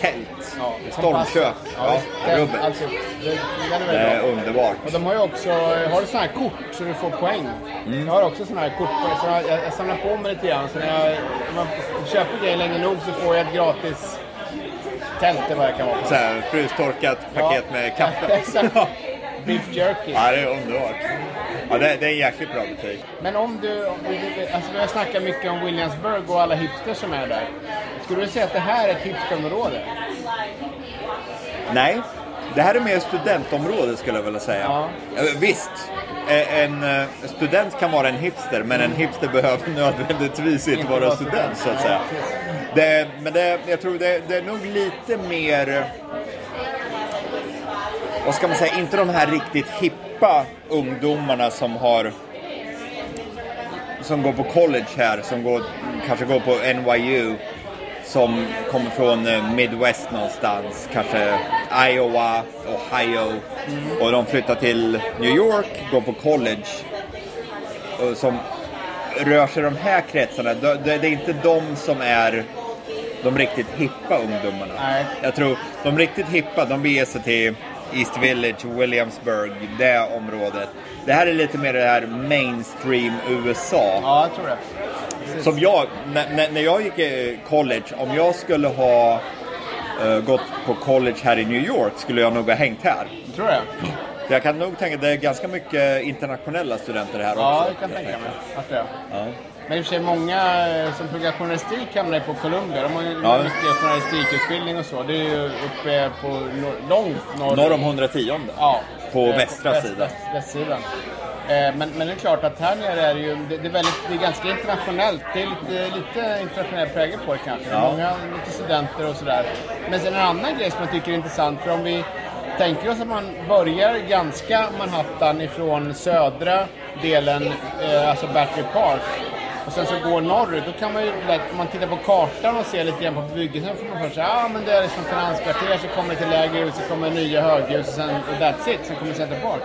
Speaker 1: tält,
Speaker 2: Ja,
Speaker 1: stormkök,
Speaker 2: kompass.
Speaker 1: ja,
Speaker 2: det-
Speaker 1: rubbel.
Speaker 2: Alltså, det, den är
Speaker 1: Det
Speaker 2: väldigt
Speaker 1: är
Speaker 2: bra.
Speaker 1: underbart.
Speaker 2: Eh, Och de har ju också, eh, har du sådana här kort så du får poäng? Jag har också sådana här kort, så jag, jag, jag samlar på mig lite grann. Så när jag, om man köper grejer länge nog så får jag ett gratis tält eller vad det kan vara.
Speaker 1: Så här, frystorkat paket
Speaker 2: Ja.
Speaker 1: med kaffe.
Speaker 2: Exakt. Beef jerky.
Speaker 1: ja, det är underbart. Ja, det, det är en jäkligt bra butik.
Speaker 2: Men om du, om du alltså vi har snackat mycket om Williamsburg och alla hipsters som är där. Skulle du säga att det här är ett hipsterområde?
Speaker 1: Nej, det här är mer studentområde skulle jag vilja säga.
Speaker 2: Ja.
Speaker 1: Eh, Visst, eh, en eh, student kan vara en hipster, men en hipster behöver nödvändigtvis inte,
Speaker 2: Inte
Speaker 1: vara
Speaker 2: vara
Speaker 1: student
Speaker 2: student,
Speaker 1: så att
Speaker 2: nej,
Speaker 1: säga.
Speaker 2: precis.
Speaker 1: Det, men det, jag tror det, det är nog lite mer, vad ska man säga, inte de här riktigt hippa ungdomarna som har som går på college här, som går, kanske går på NYU, som kommer från eh, Midwest någonstans, kanske Iowa, Ohio, och de flyttar till New York, går på college, och som rör sig i de här kretsarna. Det, det det är inte de som är de riktigt hippa ungdomarna.
Speaker 2: Nej.
Speaker 1: Jag tror de riktigt hippa, de beger sig till East Village, Williamsburg, det området. Det här är lite mer det här mainstream USA.
Speaker 2: Ja, jag tror det.
Speaker 1: Som jag, när, när- när jag gick i college, om jag skulle ha eh, gått på college här i New York skulle jag nog ha hängt här.
Speaker 2: Jag tror det.
Speaker 1: Så jag kan nog tänka att det är ganska mycket internationella studenter här
Speaker 2: Ja,
Speaker 1: också.
Speaker 2: det kan jag tänka mig att det är.
Speaker 1: Ja.
Speaker 2: Men i och för sig många eh, som pluggar journalistik hamnar ju på Columbia. De har ju
Speaker 1: Ja.
Speaker 2: mycket journalistikutbildning och så. Det är ju uppe på nor- långt norr.
Speaker 1: Norr om 110
Speaker 2: Ja.
Speaker 1: på
Speaker 2: Eh,
Speaker 1: västra
Speaker 2: väst-
Speaker 1: sidan.
Speaker 2: väst- Västsidan. Eh, Men, men det är klart att här nere är det ju, det, det, är väldigt, det är ganska internationellt. Det är lite, lite internationell prägel på det kanske. Det är
Speaker 1: Ja.
Speaker 2: Många, mycket studenter och sådär. Men sen en annan grej som jag tycker är intressant, för om vi tänker oss att man börjar ganska Manhattan ifrån södra delen, eh, alltså Battery Park, och sen så går norrut, då kan man ju, lätt- om man tittar på kartan och ser lite grann på bebyggelsen, får man först säga ah, men det är liksom finanskvarter, så kommer det till lägre hus, så kommer nya höghus och sen och that's it, sen kommer Center Park.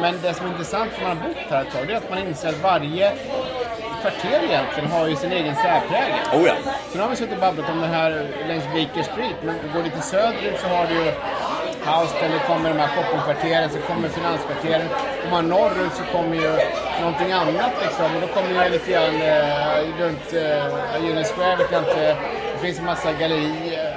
Speaker 2: Men det som är intressant när man har bott här ett tag, det är att man inser att varje kvarter egentligen har ju sin egen särprägel.
Speaker 1: Oh ja.
Speaker 2: Så nu har vi suttit och babblat om det här längs Baker Street, men går lite söderut så har du ju Houston, det kommer de här shoppingkvarteren, så kommer finanskvarteren. Om man norrut så kommer ju någonting annat liksom. Och Då kommer ju lite grann eh, runt eh, Union Square, vet jag inte. Det finns en massa gallerier.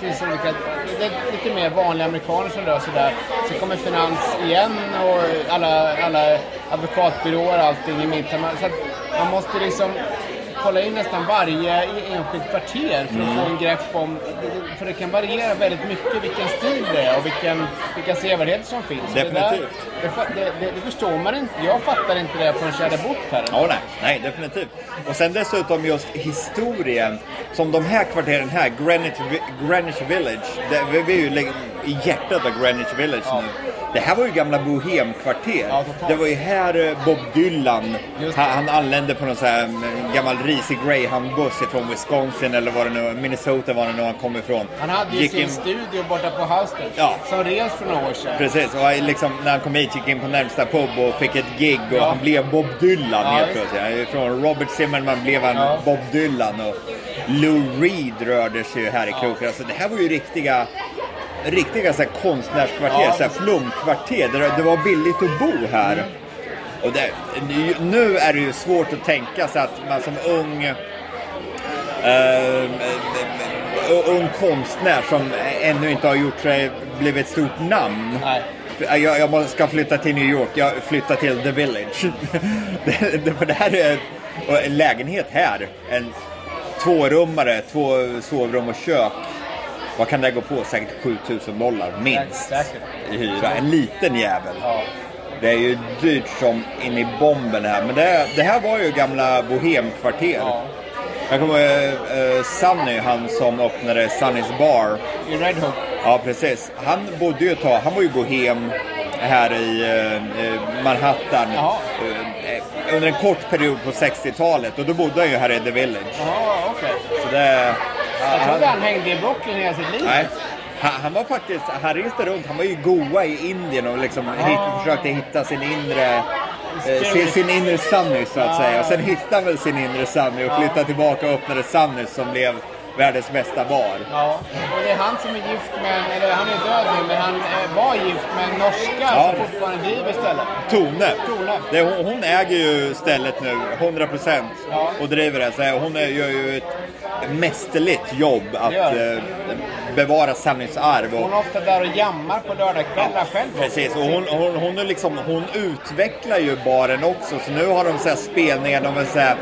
Speaker 2: Det finns olika, det är lite mer vanliga amerikaner som rör sig där. Så kommer finans igen och alla, alla advokatbyråer och allting i mitten. Så att man måste liksom kolla in nästan varje enskilt kvarter för att
Speaker 1: Mm.
Speaker 2: få en grepp om... För det kan variera väldigt mycket vilken stil det är och vilken, vilka sevärdheter som finns. Det där-
Speaker 1: Definitivt.
Speaker 2: Det, fa- det, det, det förstår man inte. Jag fattar inte det förrän jag hade bott här.
Speaker 1: Ja, nej, nej, definitivt. Och sen dessutom just historien. Som de här kvarteren här, Greenwich, Vi- Greenwich Village. Det, vi, vi är ju lägg- i hjärtat av Greenwich Village
Speaker 2: Ja.
Speaker 1: nu. Det här var ju gamla bohemkvarter.
Speaker 2: Ja, totalt.
Speaker 1: det var ju här eh, Bob Dylan,
Speaker 2: Just det.
Speaker 1: han, han anlände på någon så här mm, gammal risig greyhoundbuss ifrån Wisconsin eller var det nu, Minnesota var det nu han kom ifrån.
Speaker 2: Han hade ju
Speaker 1: Gick
Speaker 2: sin
Speaker 1: in-
Speaker 2: studio borta på Houston
Speaker 1: Ja.
Speaker 2: som revs för några år sedan.
Speaker 1: Precis, och han liksom, när han kom hit gick in på närmsta pub och fick ett gig och
Speaker 2: Ja.
Speaker 1: han blev Bob Dylan helt
Speaker 2: visst.
Speaker 1: plötsligt. Han är Från Robert Zimmerman blev han
Speaker 2: Ja.
Speaker 1: Bob Dylan och Lou Reed rörde sig ju här i kroken. Alltså det här var ju riktiga, riktiga så här konstnärskvarter,
Speaker 2: Ja. Mm.
Speaker 1: så här flumkvarter. Det, det var billigt att bo här. Och det, nu- nu är det ju svårt att tänka sig att man som ung ehm, eh, ung konstnär som ännu inte har gjort sig, blivit ett stort namn.
Speaker 2: Nej.
Speaker 1: äh, Jag, jag må- ska flytta till New York, jag flyttar till The Village. det, det, för det här är och en lägenhet här. En tvårummare, två sovrum och kök. Vad kan det gå på? Säkert 7000 dollar minst
Speaker 2: Säkert.
Speaker 1: i hyra. En liten jävel.
Speaker 2: Ja.
Speaker 1: Det är ju dyrt som in i bomben här. Men det, det här var ju gamla bohemkvarter.
Speaker 2: Ja.
Speaker 1: Jag kommer ihåg eh, Sunny, han som öppnade Sunnys bar.
Speaker 2: I Red Hook.
Speaker 1: Ja, precis. Han bodde ju ett tag, han var ju bohem här i eh, eh, Manhattan.
Speaker 2: Jaha.
Speaker 1: Eh, Under en kort period på 60-talet och då bodde han ju här i The Village.
Speaker 2: Jaha, okej.
Speaker 1: Så det,
Speaker 2: Jag
Speaker 1: han,
Speaker 2: trodde han hängde i Brooklyn hela sitt liv.
Speaker 1: nej, han, han var faktiskt, han reste runt, han var ju i Goa i Indien och liksom hit, försökte hitta sin inre eh, sin, sin inre Sunny så att säga. Och sen hittade han väl sin inre Sunny och flyttade tillbaka och öppnade Sunny som blev världens bästa bar.
Speaker 2: Ja, och det är han som är gift med, eller han är död nu, men han eh, var gift med en norska
Speaker 1: Ja.
Speaker 2: som fortfarande driver stället.
Speaker 1: Tone.
Speaker 2: Tone.
Speaker 1: Det, hon, hon äger ju stället nu, 100 procent.
Speaker 2: Ja.
Speaker 1: Och driver det. Så här, hon är- gör ju ett mästerligt jobb att
Speaker 2: Gör det.
Speaker 1: eh, bevara Sunnys arv. Och,
Speaker 2: Hon är ofta där och jammar på lördagskvällar själv.
Speaker 1: Precis, och hon, hon, hon, är liksom, hon utvecklar ju baren också. Så nu har de så här spelningar, de har så här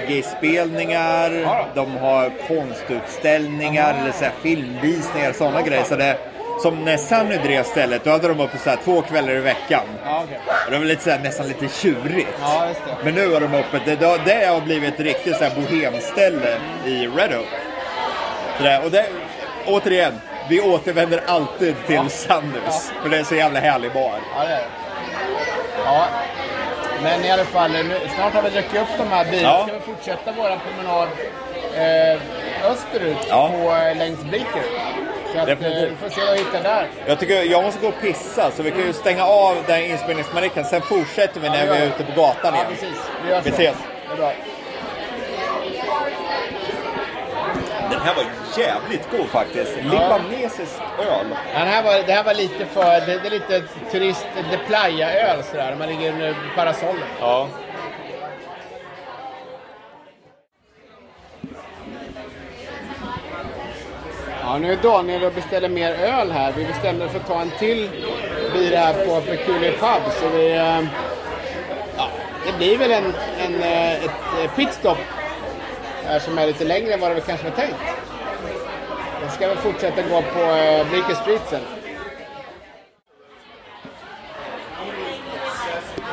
Speaker 1: reggae-spelningar,
Speaker 2: Ja.
Speaker 1: de har konstutställningar, eller så här filmvisningar och sådana grejer. Så det, som när Sunny drev stället, då hade de uppe så här två kvällar i veckan.
Speaker 2: Ja, okej.
Speaker 1: Och det var lite så här, nästan lite tjurigt.
Speaker 2: Ja, just det.
Speaker 1: Men nu har de öppet, det, det, det har blivit ett riktigt så här bohemställe i Red Hook. Så där, och det, återigen, vi återvänder alltid till Sanders. För det är så jävla härlig bar.
Speaker 2: Ja, det är det. Ja. Men i alla fall, nu, snart har vi druckit upp de här bilarna.
Speaker 1: Ja.
Speaker 2: Ska vi fortsätta vår promenad eh, österut
Speaker 1: Ja.
Speaker 2: på, eh, längs Bleaker? Så att, eh,
Speaker 1: Definitivt.
Speaker 2: vi får se vad vi hittar där.
Speaker 1: Jag tycker jag måste gå och pissa så vi kan ju stänga av den inspelningsmariken. Sen fortsätter vi när
Speaker 2: Ja,
Speaker 1: vi
Speaker 2: gör
Speaker 1: är
Speaker 2: det.
Speaker 1: ute på gatan
Speaker 2: Ja,
Speaker 1: igen.
Speaker 2: precis. Vi gör så.
Speaker 1: Vi ses.
Speaker 2: Det är bra.
Speaker 1: Den här var jävligt god faktiskt. Libanesisk öl.
Speaker 2: Ja, det, här var, det här var lite för, det, det är lite turist, de playa-öl sådär. Man ligger under parasollen.
Speaker 1: Ja.
Speaker 2: Ja, nu är Daniel och beställer mer öl här. Vi bestämde för att ta en till bira här på Peculiar Pub. Så vi, eh, ja, det blir väl en, en, eh, ett eh, pitstop här som är lite längre än vad vi kanske var tänkt. Jag ska väl fortsätta gå på eh, Bleaker Street sen.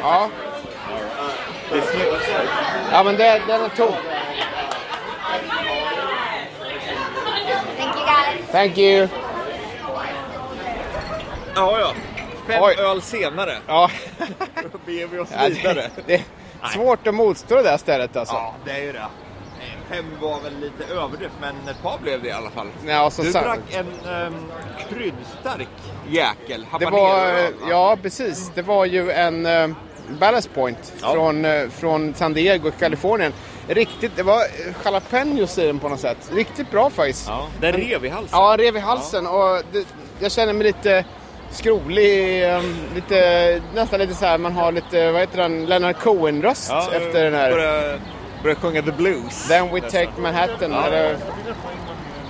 Speaker 2: Ja,
Speaker 1: Det är snyggt.
Speaker 2: ja men det, den är tok.
Speaker 5: Thank you guys.
Speaker 2: Thank you.
Speaker 1: Ja, ja. Fem
Speaker 2: Oj.
Speaker 1: öl senare
Speaker 2: Ja,
Speaker 1: då beger vi oss
Speaker 2: ja,
Speaker 1: vidare.
Speaker 2: det, det är svårt att motstå det där stället alltså.
Speaker 1: Ja, det är ju det. Eh, Fem var väl lite överdrift, men ett par blev det i alla fall.
Speaker 2: Nej, alltså,
Speaker 1: Du
Speaker 2: så-
Speaker 1: drack en um, kryddstark jäkel,
Speaker 2: Det var, eh,
Speaker 1: habanero-öl, va?
Speaker 2: ja precis, det var ju en eh, ballast point
Speaker 1: Ja.
Speaker 2: från, eh, från San Diego i Kalifornien. Riktigt, det var eh, jalapenos i den på något sätt. Riktigt bra faktiskt.
Speaker 1: ja. Den rev i halsen.
Speaker 2: Ja, rev i halsen och det, jag känner mig lite skrovlig, eh, lite, nästan lite så här, man har lite, vad heter den, Leonard Cohen-röst efter den här.
Speaker 1: eh, Började, började sjunga the blues.
Speaker 2: Then we
Speaker 1: nästan.
Speaker 2: take Manhattan.
Speaker 1: Ja.
Speaker 2: Eller,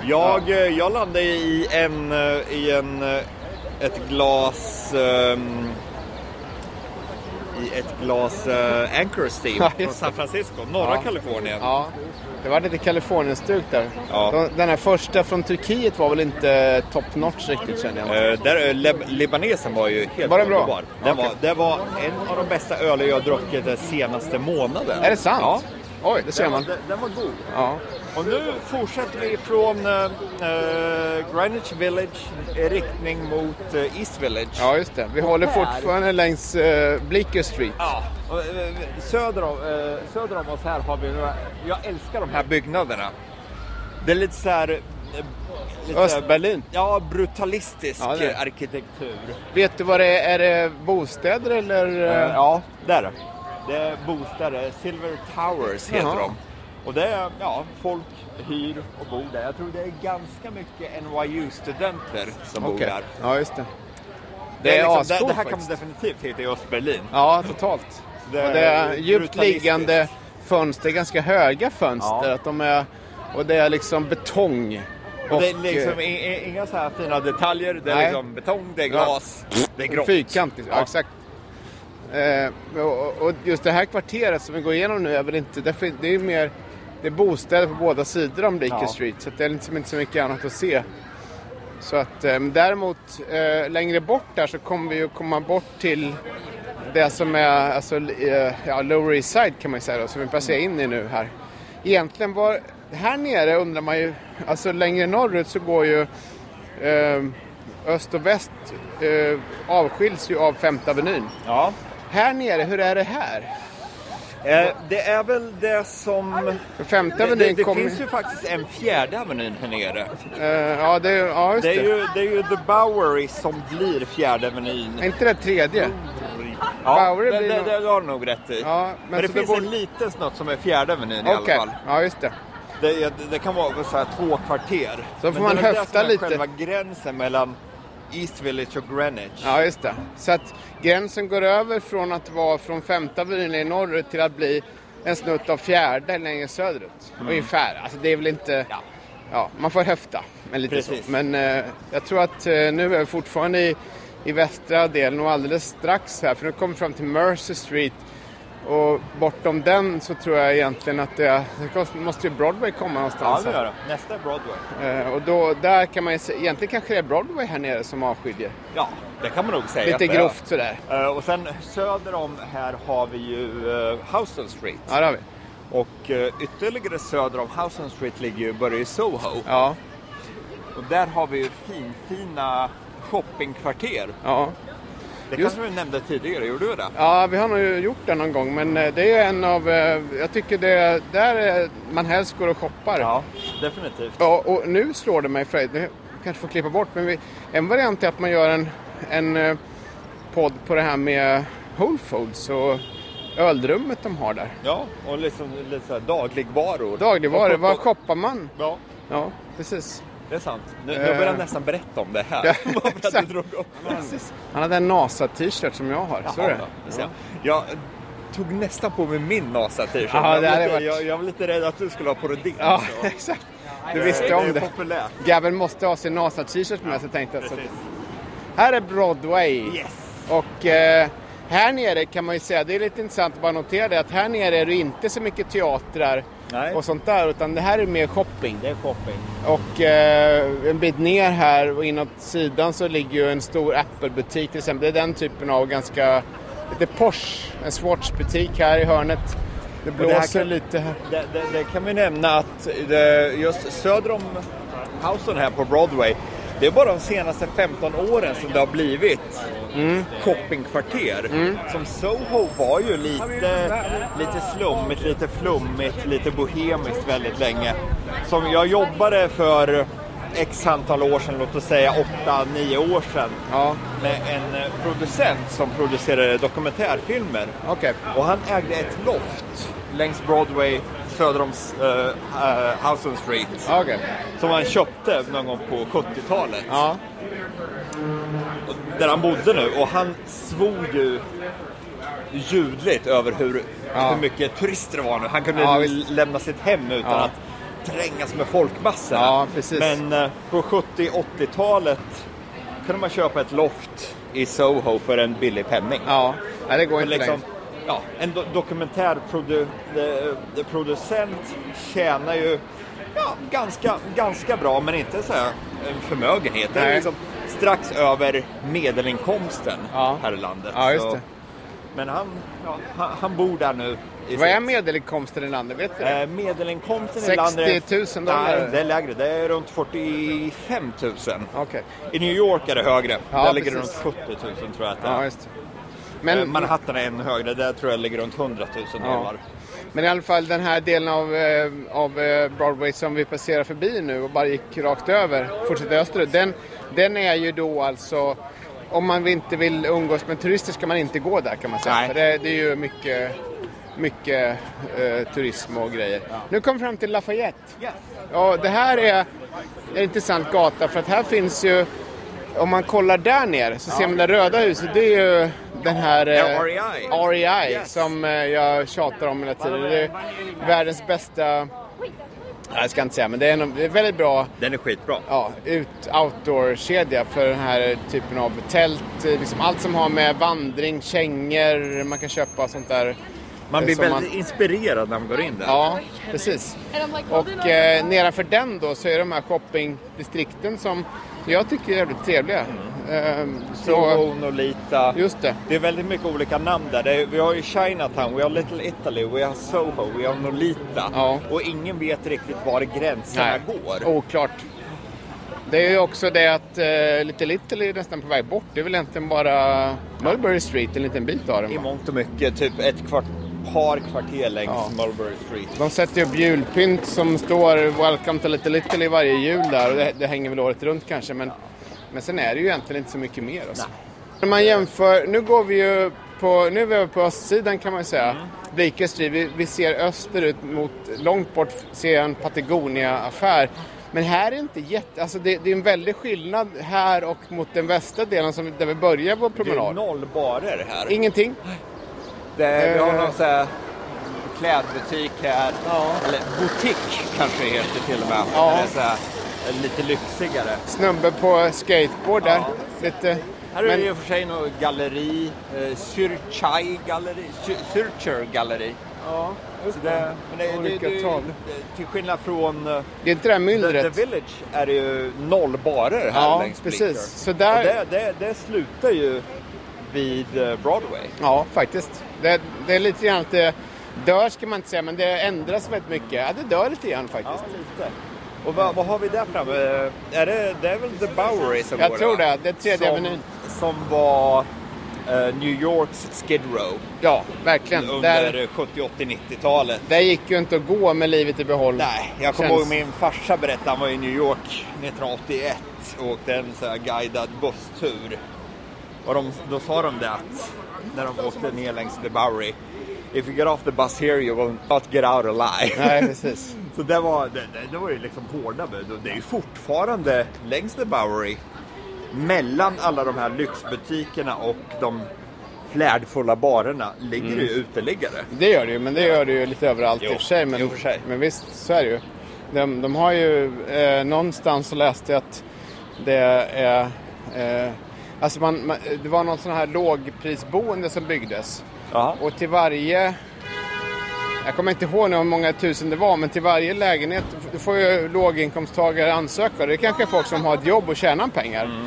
Speaker 1: Jag, eh, jag landade i en, eh, i en, eh, ett glas ehm, i ett glas eh, Anchor Steve
Speaker 2: Ja, just
Speaker 1: från
Speaker 2: det.
Speaker 1: San Francisco, norra
Speaker 2: Ja.
Speaker 1: Kalifornien.
Speaker 2: ja, det var lite Kalifornien-stuk där.
Speaker 1: Ja.
Speaker 2: De- Den här första från Turkiet var väl inte top notch riktigt känner jag.
Speaker 1: Eh, där, eh, leb- libanesen var ju helt
Speaker 2: Var den bra?
Speaker 1: underbar. Den
Speaker 2: Okej.
Speaker 1: var, det var en av de bästa öler jag druckit den senaste månaden.
Speaker 2: Är det sant?
Speaker 1: Ja.
Speaker 2: Oj, det ser
Speaker 1: Den, var-
Speaker 2: man.
Speaker 1: den, den var god.
Speaker 2: Ja.
Speaker 1: Och nu fortsätter vi från eh, eh, Greenwich Village i riktning mot eh, East Village.
Speaker 2: ja, just det. Vi håller
Speaker 1: här.
Speaker 2: fortfarande längs eh, Bleecker Street.
Speaker 1: Ja, och, eh, söder om, eh, söder om oss här har vi några, jag älskar de här byggnaderna. Det är lite så här... eh, lite så här-
Speaker 2: Östberlin.
Speaker 1: Ja, brutalistisk
Speaker 2: Ja, det är det.
Speaker 1: eh, arkitektur.
Speaker 2: Vet du vad det är? Är det bostäder eller? eh,
Speaker 1: Eh, Ja, där. är det. Det är bostäder, Silver Towers heter
Speaker 2: Jaha.
Speaker 1: de. Och det är, ja, folk hyr och bor där. Jag tror det är ganska mycket NYU-studenter som bor
Speaker 2: Okej.
Speaker 1: där.
Speaker 2: Ja, just det.
Speaker 1: Det,
Speaker 2: är
Speaker 1: liksom,
Speaker 2: ascoolt
Speaker 1: det, det här kan man
Speaker 2: faktiskt.
Speaker 1: definitivt hitta i Östberlin.
Speaker 2: Ja, totalt.
Speaker 1: Det är
Speaker 2: och det är djupt
Speaker 1: brutalistiskt.
Speaker 2: liggande fönster, ganska höga fönster.
Speaker 1: Ja.
Speaker 2: Att de är, och det är liksom betong.
Speaker 1: Och det är
Speaker 2: eh,
Speaker 1: liksom i- i- inga så här fina detaljer. Det är
Speaker 2: Nej.
Speaker 1: liksom betong, det är glas, det är grått.
Speaker 2: Fyrkantigt, ja,
Speaker 1: Ja.
Speaker 2: exakt. Eh, och, och just det här kvarteret som vi går igenom nu är väl inte... därför- Det är ju mer det är bostäder på båda sidor om Bleecker
Speaker 1: Ja.
Speaker 2: Street så att det är liksom inte så mycket annat att se. Så att eh, men däremot eh, längre bort där så kommer vi ju komma bort till det som är alltså, eh, ja, Lower East Side kan man ju säga då, som vi passerar in i nu här. Egentligen var... Här nere undrar man ju, alltså längre norrut så går ju eh, öst och väst eh, avskiljs ju av Femte Avenyn.
Speaker 1: Ja.
Speaker 2: Här nere, hur är det här?
Speaker 1: Eh, det är väl det som...
Speaker 2: För Femte
Speaker 1: Det, det,
Speaker 2: Avenyn
Speaker 1: det
Speaker 2: kommer...
Speaker 1: finns ju faktiskt en fjärde avenyn här nere.
Speaker 2: eh, ja, det, ja, just
Speaker 1: Det
Speaker 2: det.
Speaker 1: är ju, det är ju The Bowery som blir fjärde avenyn.
Speaker 2: Är inte det tredje?
Speaker 1: Ja,
Speaker 2: Bowery
Speaker 1: det,
Speaker 2: blir
Speaker 1: det,
Speaker 2: nog-
Speaker 1: det, har du nog rätt i.
Speaker 2: Ja, men
Speaker 1: men, det
Speaker 2: så det
Speaker 1: finns
Speaker 2: borde-
Speaker 1: en liten snutt som är fjärde avenyn i
Speaker 2: Okej,
Speaker 1: alla fall.
Speaker 2: ja just det.
Speaker 1: Det, är- det kan vara så här två kvarter.
Speaker 2: Så får
Speaker 1: Men
Speaker 2: man
Speaker 1: det är väl det
Speaker 2: höfta
Speaker 1: som är
Speaker 2: lite.
Speaker 1: själva gränsen mellan East Village och Greenwich.
Speaker 2: Ja, just det. Så att gränsen går över från att vara från Femte Avenyn i norrut till att bli en snutt av fjärde längre söderut. Ungefär. Alltså det är väl inte...
Speaker 1: Mm. Ja.
Speaker 2: Ja, man får höfta. Men lite
Speaker 1: Precis.
Speaker 2: så. Men eh, jag tror att eh, nu är vi fortfarande i, i västra delen och alldeles strax här. För nu kommer vi fram till Mercer Street. Och bortom den så tror jag egentligen att det, är- det måste ju Broadway komma
Speaker 1: Ja,
Speaker 2: någonstans.
Speaker 1: det
Speaker 2: här.
Speaker 1: gör det. Nästa är Broadway.
Speaker 2: Eh, och då, där kan man ju se, egentligen kanske det är Broadway här nere som avskiljer.
Speaker 1: Ja, det kan man nog säga.
Speaker 2: Lite
Speaker 1: att det är.
Speaker 2: grovt sådär.
Speaker 1: Eh, och sen söder om här har vi ju eh, Houston Street.
Speaker 2: Ja, det har vi.
Speaker 1: Och eh, ytterligare söder om Houston Street ligger ju Börje Soho.
Speaker 2: Ja,
Speaker 1: Och där har vi ju finfina shoppingkvarter.
Speaker 2: ja.
Speaker 1: Det
Speaker 2: Just-
Speaker 1: kanske vi nämnde tidigare, gjorde vi det?
Speaker 2: ja, vi har nog gjort det någon gång men eh, det är en av, eh, jag tycker det där är- man helst går och shoppar.
Speaker 1: definitivt.
Speaker 2: Ja, och nu slår det mig Fred, nu kanske får klippa bort, men vi, en variant är att man gör en, en eh, podd på det här med Whole Foods och öldrummet de har där.
Speaker 1: Ja, och liksom lite så här dagligvaror.
Speaker 2: Dagligvaror,
Speaker 1: Och-
Speaker 2: var
Speaker 1: och-
Speaker 2: shoppar man?
Speaker 1: Ja,
Speaker 2: Ja, precis.
Speaker 1: det är sant. Nu, nu börjar jag nästan berätta om det här.
Speaker 2: Eh. Ja,
Speaker 1: Vad var det
Speaker 2: exakt.
Speaker 1: du drog upp?
Speaker 2: precis. Han hade en NASA-t-shirt som jag har, så är det.
Speaker 1: Ja, ja. Jag tog nästan på mig min NASA-t-shirt.
Speaker 2: Ja, det
Speaker 1: jag, var
Speaker 2: hade
Speaker 1: lite,
Speaker 2: varit-
Speaker 1: jag, jag var lite rädd att du skulle ha på dig din.
Speaker 2: Ja,
Speaker 1: så.
Speaker 2: exakt. Du visste om
Speaker 1: Det är
Speaker 2: det.
Speaker 1: populärt.
Speaker 2: Gabben måste ha sin NASA-t-shirt med sig tänkte jag. Så
Speaker 1: Precis.
Speaker 2: här är Broadway.
Speaker 1: Yes.
Speaker 2: Och eh, här nere kan man ju säga, det är lite intressant att bara notera det, att här nere är det inte så mycket teatrar
Speaker 1: Nej.
Speaker 2: och sånt där, utan det här är mer shopping.
Speaker 1: Det är shopping.
Speaker 2: Och eh, en bit ner här och inåt sidan så ligger ju en stor Apple-butik till exempel. Det är den typen av ganska lite Porsche, en Swatch-butik här i hörnet. Det
Speaker 1: det här
Speaker 2: blåser
Speaker 1: kan-
Speaker 2: lite här.
Speaker 1: Det, det, det kan vi nämna att det, just söder om Houston här på Broadway, det är bara de senaste 15 åren som det har blivit shoppingkvarter. Som Soho var ju lite, lite slummigt, lite flummigt, lite bohemiskt väldigt länge. Som jag jobbade för x antal år sedan, låt oss säga 8-9 år sedan,
Speaker 2: Ja.
Speaker 1: med en eh, producent som producerade dokumentärfilmer.
Speaker 2: Okej.
Speaker 1: Och han ägde ett loft längs Broadway söder om eh, eh, Houston Street.
Speaker 2: Ja, okej.
Speaker 1: Som han köpte någon gång på 70-talet.
Speaker 2: Ja.
Speaker 1: Där han bodde nu. Och han svor ju ljudligt över hur,
Speaker 2: Ja.
Speaker 1: hur mycket turister det var nu. Han kunde
Speaker 2: Ja,
Speaker 1: l-
Speaker 2: visst.
Speaker 1: lämna sitt hem utan
Speaker 2: Ja.
Speaker 1: att trängas med folkmassorna.
Speaker 2: Ja, precis.
Speaker 1: Men eh, på 70-80-talet kunde man köpa ett loft i Soho för en billig penning.
Speaker 2: Ja. Nej, det går
Speaker 1: Men
Speaker 2: inte
Speaker 1: liksom,
Speaker 2: längre.
Speaker 1: ja, en do dokumentärproducent tjänar ju ja, ganska, ganska bra, men inte så här en förmögenhet. Det är
Speaker 2: Nej.
Speaker 1: liksom strax över medelinkomsten
Speaker 2: Ja.
Speaker 1: här i landet.
Speaker 2: Ja, just
Speaker 1: Så-
Speaker 2: det.
Speaker 1: Men han, ja, han, han bor där nu. i
Speaker 2: Vad
Speaker 1: sitt-
Speaker 2: är medelinkomsten i landet? Vet vi det?
Speaker 1: Eh, medelinkomsten i
Speaker 2: 60 000
Speaker 1: landet...
Speaker 2: dollar?
Speaker 1: Nej, det är lägre. Det är runt 45 000.
Speaker 2: Okej.
Speaker 1: I New York är det högre.
Speaker 2: Ja,
Speaker 1: där ligger det runt 70
Speaker 2: precis.
Speaker 1: 000 tror jag att det är.
Speaker 2: Ja, just det.
Speaker 1: Eh,
Speaker 2: Men,
Speaker 1: Manhattan är ännu högre, där tror jag ligger runt 100 000 dollar.
Speaker 2: men i alla fall den här delen av, eh, av eh, Broadway som vi passerar förbi nu och bara gick rakt över, fortsätter österut. Den, den är ju då alltså, om man inte vill umgås med turister ska man inte gå där kan man säga.
Speaker 1: Nej.
Speaker 2: För det, det är ju mycket, mycket eh, turism och grejer. Nu kom vi fram till Lafayette. Ja, det här är en intressant gata för att här finns ju, om man kollar där ner så ser man det röda huset, det är ju den här eh,
Speaker 1: REI.
Speaker 2: REI
Speaker 1: Yes.
Speaker 2: som eh, jag tjatar om hela tiden. Det är världens bästa, nej, jag ska inte säga men det är en det är väldigt bra
Speaker 1: Den är skitbra.
Speaker 2: ja, ut, outdoor-kedja för den här typen av tält, eh, liksom allt som har med vandring, kängor, man kan köpa sånt där.
Speaker 1: Man
Speaker 2: eh,
Speaker 1: blir
Speaker 2: som
Speaker 1: väldigt inspirerad när man går in där.
Speaker 2: Ja, precis. Och eh, nedanför den då så är de här shoppingdistrikten som jag tycker är jävligt trevliga.
Speaker 1: Mm.
Speaker 2: Ehm, så,
Speaker 1: Soho, Nolita.
Speaker 2: just det.
Speaker 1: Det är väldigt mycket olika namn där. Det är, vi har ju Chinatown, vi har Little Italy, vi har Soho, vi har Nolita.
Speaker 2: Ja.
Speaker 1: Och ingen vet riktigt var gränserna går.
Speaker 2: Oklart. Det är ju också det att eh, Little Little är nästan på väg bort. Det är väl egentligen bara Mulberry Street, en liten bit av den.
Speaker 1: I
Speaker 2: va?
Speaker 1: mångt och mycket, typ ett kvart, par kvarter längs
Speaker 2: Ja.
Speaker 1: Mulberry Street.
Speaker 2: De sätter ju upp julpynt som står Welcome to Little Little i varje jul där och det, det hänger väl året runt kanske men, men sen är det ju egentligen inte så mycket mer. Alltså. När man jämför, nu går vi ju på, nu är vi över på östsidan kan man ju
Speaker 1: Mm.
Speaker 2: säga. Bleaker Street, vi, vi ser österut mot, långt bort ser jag en Patagonia-affär. Men här är inte jätte, alltså det, det är en väldig skillnad här och mot den västra delen som, där vi börjar vår
Speaker 1: Det är
Speaker 2: promenad.
Speaker 1: noll barer här.
Speaker 2: Ingenting.
Speaker 1: Det, vi har
Speaker 2: Eh.
Speaker 1: någon sån här klädbutik här. Eller butik kanske det heter till och med.
Speaker 2: Ja.
Speaker 1: Eller så här, eh, lite lyxigare.
Speaker 2: Snubbe på skateboard där. Lite.
Speaker 1: Här är
Speaker 2: men-
Speaker 1: det i och för sig något galleri. Eh, Surchai galleri. Sur- Surcher galleri.
Speaker 2: Ja,
Speaker 1: Så det, men det, det,
Speaker 2: Olika
Speaker 1: det, det,
Speaker 2: tal.
Speaker 1: till skillnad från eh,
Speaker 2: Det är inte det här
Speaker 1: The,
Speaker 2: myllret.
Speaker 1: The Village är det ju noll barer här
Speaker 2: Ja,
Speaker 1: längs
Speaker 2: precis.
Speaker 1: Bleecker.
Speaker 2: Så där-
Speaker 1: Och det, det, det slutar ju vid eh, Broadway.
Speaker 2: Ja, faktiskt. Det, det är lite grann att det dör ska man inte säga, men det ändras väldigt mycket. Ja, det dör lite grann
Speaker 1: Ja,
Speaker 2: faktiskt.
Speaker 1: lite. Och vad, vad har vi där framme? Eh, Är det, det är väl The Bowery som
Speaker 2: Jag
Speaker 1: går va?
Speaker 2: tror det. Det är tredje
Speaker 1: som,
Speaker 2: avenyn.
Speaker 1: Som var eh, New Yorks Skid Row
Speaker 2: Ja, verkligen.
Speaker 1: under
Speaker 2: Där,
Speaker 1: 70, 80, 90-talet.
Speaker 2: där gick ju inte att gå med livet i behåll.
Speaker 1: Nej, jag kommer
Speaker 2: Känns-
Speaker 1: ihåg min farsa berättade, han var i New York 1981 och åkte en så här guidad busstur. Och de, då sa de det att när de åkte ner längs The Bowery. If you get off the bus here you will not get out alive.
Speaker 2: Nej, precis.
Speaker 1: Så det var, det, det, det var ju liksom hårda bud och det är ju fortfarande längs The Bowery mellan alla de här lyxbutikerna och de flärdfulla barerna ligger det ju uteliggare.
Speaker 2: Det gör det ju, men det gör det ju lite överallt
Speaker 1: Jo,
Speaker 2: i och för sig. Men,
Speaker 1: i och för sig.
Speaker 2: men visst, så är det ju. De, de har ju eh, någonstans så läste jag att det är... Eh, alltså man, man, det var någon sån här lågprisboende som byggdes.
Speaker 1: Jaha.
Speaker 2: Och till varje... Jag kommer inte ihåg nu hur många tusen det var, men till varje lägenhet då får ju låginkomsttagare ansöka.
Speaker 1: Mm.
Speaker 2: Det är kanske folk som har ett jobb och tjänar pengar.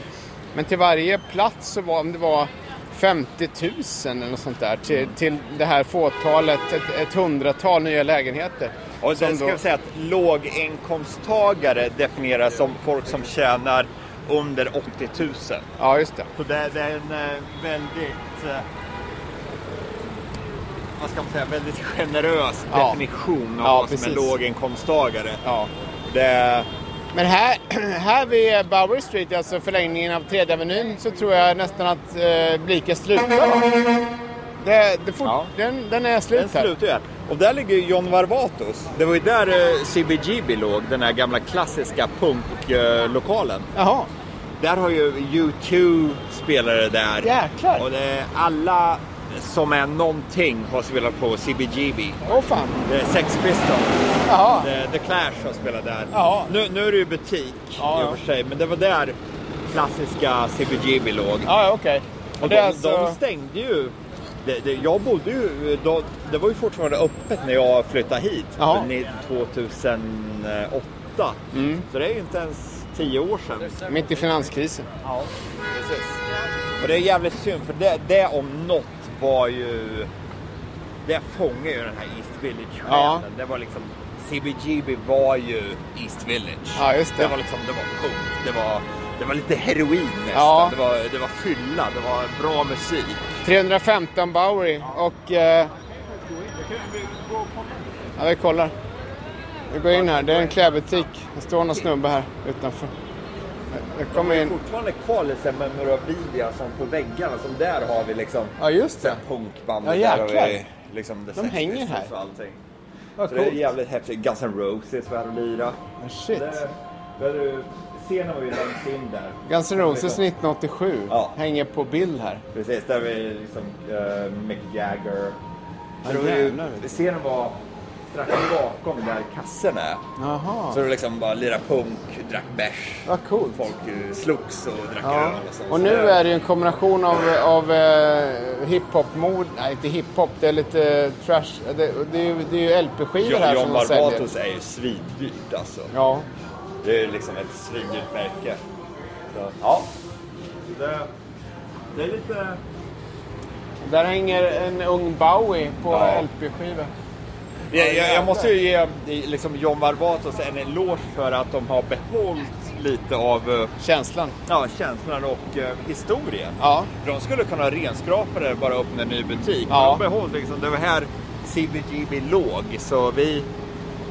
Speaker 2: Men till varje plats så var, om det var 50 000 eller något sånt där
Speaker 1: Mm.
Speaker 2: till, till det här fåtalet, ett, ett hundratal nya lägenheter.
Speaker 1: Och sen
Speaker 2: Som
Speaker 1: ska
Speaker 2: då-
Speaker 1: vi säga att låginkomsttagare definieras som folk som tjänar under 80 000.
Speaker 2: Ja, just det.
Speaker 1: Så det, det är en eh, väldigt, eh, vad ska man säga, väldigt generös
Speaker 2: Ja.
Speaker 1: definition av
Speaker 2: Ja,
Speaker 1: vad som är
Speaker 2: precis.
Speaker 1: låginkomsttagare.
Speaker 2: Ja.
Speaker 1: Det,
Speaker 2: Men här, här vid Bower Street, alltså förlängningen av Tredje Avenyn, så tror jag nästan att eh, bliken slutar. va? Det, det fort,
Speaker 1: Ja.
Speaker 2: den, den är slut
Speaker 1: den
Speaker 2: här.
Speaker 1: slutar ju här. Och där ligger ju John Varvatos. Det var ju där eh, CBGB låg, den här gamla klassiska punklokalen.
Speaker 2: Jaha.
Speaker 1: Där har ju U2 spelare där.
Speaker 2: Jäklar.
Speaker 1: Och det är alla som är någonting har spelat på CBGB.
Speaker 2: Åh fan.
Speaker 1: Det är Sex Pistols.
Speaker 2: Jaha.
Speaker 1: The, The Clash har spelat där.
Speaker 2: Ja.
Speaker 1: Nu, nu är det ju butik
Speaker 2: Ja,
Speaker 1: i
Speaker 2: ja.
Speaker 1: och för sig, men det var där klassiska CBGB låg.
Speaker 2: Ja, ja, okej.
Speaker 1: Och
Speaker 2: Det
Speaker 1: de,
Speaker 2: är alltså-
Speaker 1: de stängde ju. Det, det, jag bodde ju, då, det var ju fortfarande öppet när jag flyttade hit.
Speaker 2: Ja.
Speaker 1: ni- 2008.
Speaker 2: Mm.
Speaker 1: Så det är ju inte ens tio år sedan.
Speaker 2: Mitt i finanskrisen.
Speaker 1: Ja, precis. Och det är jävligt synd för det, det om något var ju... Det fångar ju den här East Village-själen.
Speaker 2: Ja.
Speaker 1: Det var liksom... CBGB var ju East Village.
Speaker 2: Ja, just det.
Speaker 1: var liksom, det var punkt. Det var, det var lite heroin nästan.
Speaker 2: Ja.
Speaker 1: Det, var, det var fylla. Det var bra musik.
Speaker 2: 315 Bowery och... Eh, ja, vi kollar. Vi går in här. Det är en klädbutik. Det står någon snubbe här utanför. Jag kommer
Speaker 1: Det är
Speaker 2: in.
Speaker 1: fortfarande kvar lite memorabilia som på väggarna. Som där har vi liksom...
Speaker 2: Ja, just det.
Speaker 1: Punkbandet.
Speaker 2: Ja,
Speaker 1: där har
Speaker 2: jäklar.
Speaker 1: vi liksom
Speaker 2: De hänger här.
Speaker 1: Och allting.
Speaker 2: Vad
Speaker 1: Så det är
Speaker 2: coolt.
Speaker 1: jävligt häftigt. Guns N' Roses var här och lirade.
Speaker 2: Shit.
Speaker 1: Där- där du- Scenen var ju längst in där.
Speaker 2: Guns N' Roses 1987
Speaker 1: Ja.
Speaker 2: hänger på bild här.
Speaker 1: Precis, där vi liksom eh, Mick Jagger.
Speaker 2: Ja,
Speaker 1: Så det var ju,
Speaker 2: jävlar, vet du.
Speaker 1: scenen var strax bakom där kassen är.
Speaker 2: Jaha.
Speaker 1: Så det var liksom bara lira punk, drack bärs.
Speaker 2: Vad coolt.
Speaker 1: Folk eh, slogs och drack
Speaker 2: Ja.
Speaker 1: öl och sånt.
Speaker 2: Och
Speaker 1: Så
Speaker 2: nu
Speaker 1: det-
Speaker 2: är det ju en kombination av, av eh, hiphop-mod, nej inte hiphop, det är lite trash, det, det, är, ju, det är ju LP-skivor här
Speaker 1: John
Speaker 2: som de säljer.
Speaker 1: Barbatos är ju svindyrt alltså.
Speaker 2: Ja,
Speaker 1: Det är liksom ett svindyrt märke. Så, ja. Så Det, det är lite...
Speaker 2: där hänger en ung Bowie på
Speaker 1: Ja.
Speaker 2: LP-skiva.
Speaker 1: Jag, jag, jag måste ju ge eh, liksom, John Varvatos en eloge för att de har behållit lite av eh,
Speaker 2: Känslan.
Speaker 1: ja, känslan och eh, historien.
Speaker 2: Ja.
Speaker 1: För de skulle kunna renskrapa det bara upp med en ny butik.
Speaker 2: Ja.
Speaker 1: Men de behåller liksom, det var här CBGB låg så vi,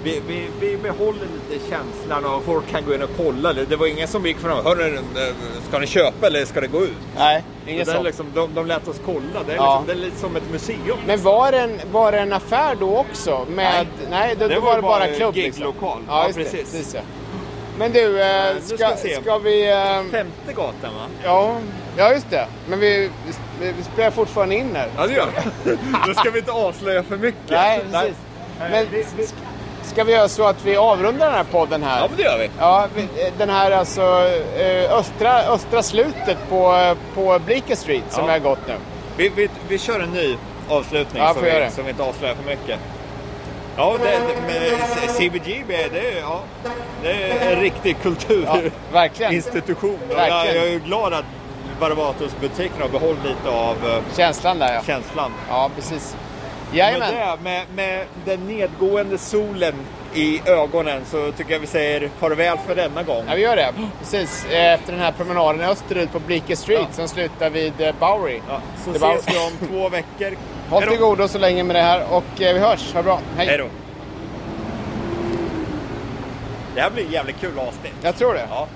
Speaker 1: vi, vi, vi behåller lite känslan och folk kan gå in och kolla. Det det var ingen som gick fram Hörru, eh, ska ni köpa eller ska det gå ut?
Speaker 2: Nej,
Speaker 1: Det
Speaker 2: inget
Speaker 1: är
Speaker 2: sånt.
Speaker 1: liksom, de, de lät oss kolla. Det är,
Speaker 2: Ja.
Speaker 1: liksom, det är lite som ett museum.
Speaker 2: Men var det, en, var det en affär då också? Med, nej, då,
Speaker 1: Det
Speaker 2: då
Speaker 1: var
Speaker 2: var det bara
Speaker 1: bara
Speaker 2: klubb liksom.
Speaker 1: giglokal.
Speaker 2: Ja,
Speaker 1: Ja,
Speaker 2: just det,
Speaker 1: precis.
Speaker 2: precis. ja. Men du, eh,
Speaker 1: nu
Speaker 2: ska,
Speaker 1: ska
Speaker 2: ska,
Speaker 1: vi se.
Speaker 2: vi... Eh,
Speaker 1: Femte gatan va?
Speaker 2: ja, ja, just det. Men vi, vi, vi spelar fortfarande in här.
Speaker 1: Ja, det gör vi. Då ska vi inte avslöja för mycket.
Speaker 2: Nej, precis. Men
Speaker 1: vi- vi-
Speaker 2: ska vi göra så att vi avrundar den här podden här?
Speaker 1: Ja, men det gör vi.
Speaker 2: Ja, vi- den här alltså eh, östra, östra slutet på, på Bleecker Street som
Speaker 1: Ja.
Speaker 2: vi har gått nu.
Speaker 1: Vi, vi, vi kör en ny avslutning
Speaker 2: Ja,
Speaker 1: som,
Speaker 2: får göra
Speaker 1: vi,
Speaker 2: det.
Speaker 1: som vi inte avslöjar för mycket. Ja, det, det, men C- CBGB, det är, ja, det är en riktig
Speaker 2: Ja,
Speaker 1: kulturinstitution.
Speaker 2: verkligen.
Speaker 1: Och Jag,
Speaker 2: Verkligen.
Speaker 1: jag är ju glad att Barbatos-butiken har behållit lite av eh,
Speaker 2: Känslan där ja.
Speaker 1: känslan.
Speaker 2: Ja, precis.
Speaker 1: Med,
Speaker 2: Jajamän.
Speaker 1: det, med, med den nedgående solen i ögonen så tycker jag vi säger farväl för denna gång.
Speaker 2: Ja, vi gör det. Precis. Eh, Efter den här promenaden österut på Bleecker Street som slutar vid eh, Bowery.
Speaker 1: Ja, så
Speaker 2: Det var-
Speaker 1: ses vi om två veckor.
Speaker 2: Håll
Speaker 1: Hej
Speaker 2: till
Speaker 1: då.
Speaker 2: godo så länge med det här och eh, vi hörs. Ha det bra. Hej.
Speaker 1: Hej då. Det här blir jävligt kul avsnitt.
Speaker 2: Jag tror det.
Speaker 1: Ja.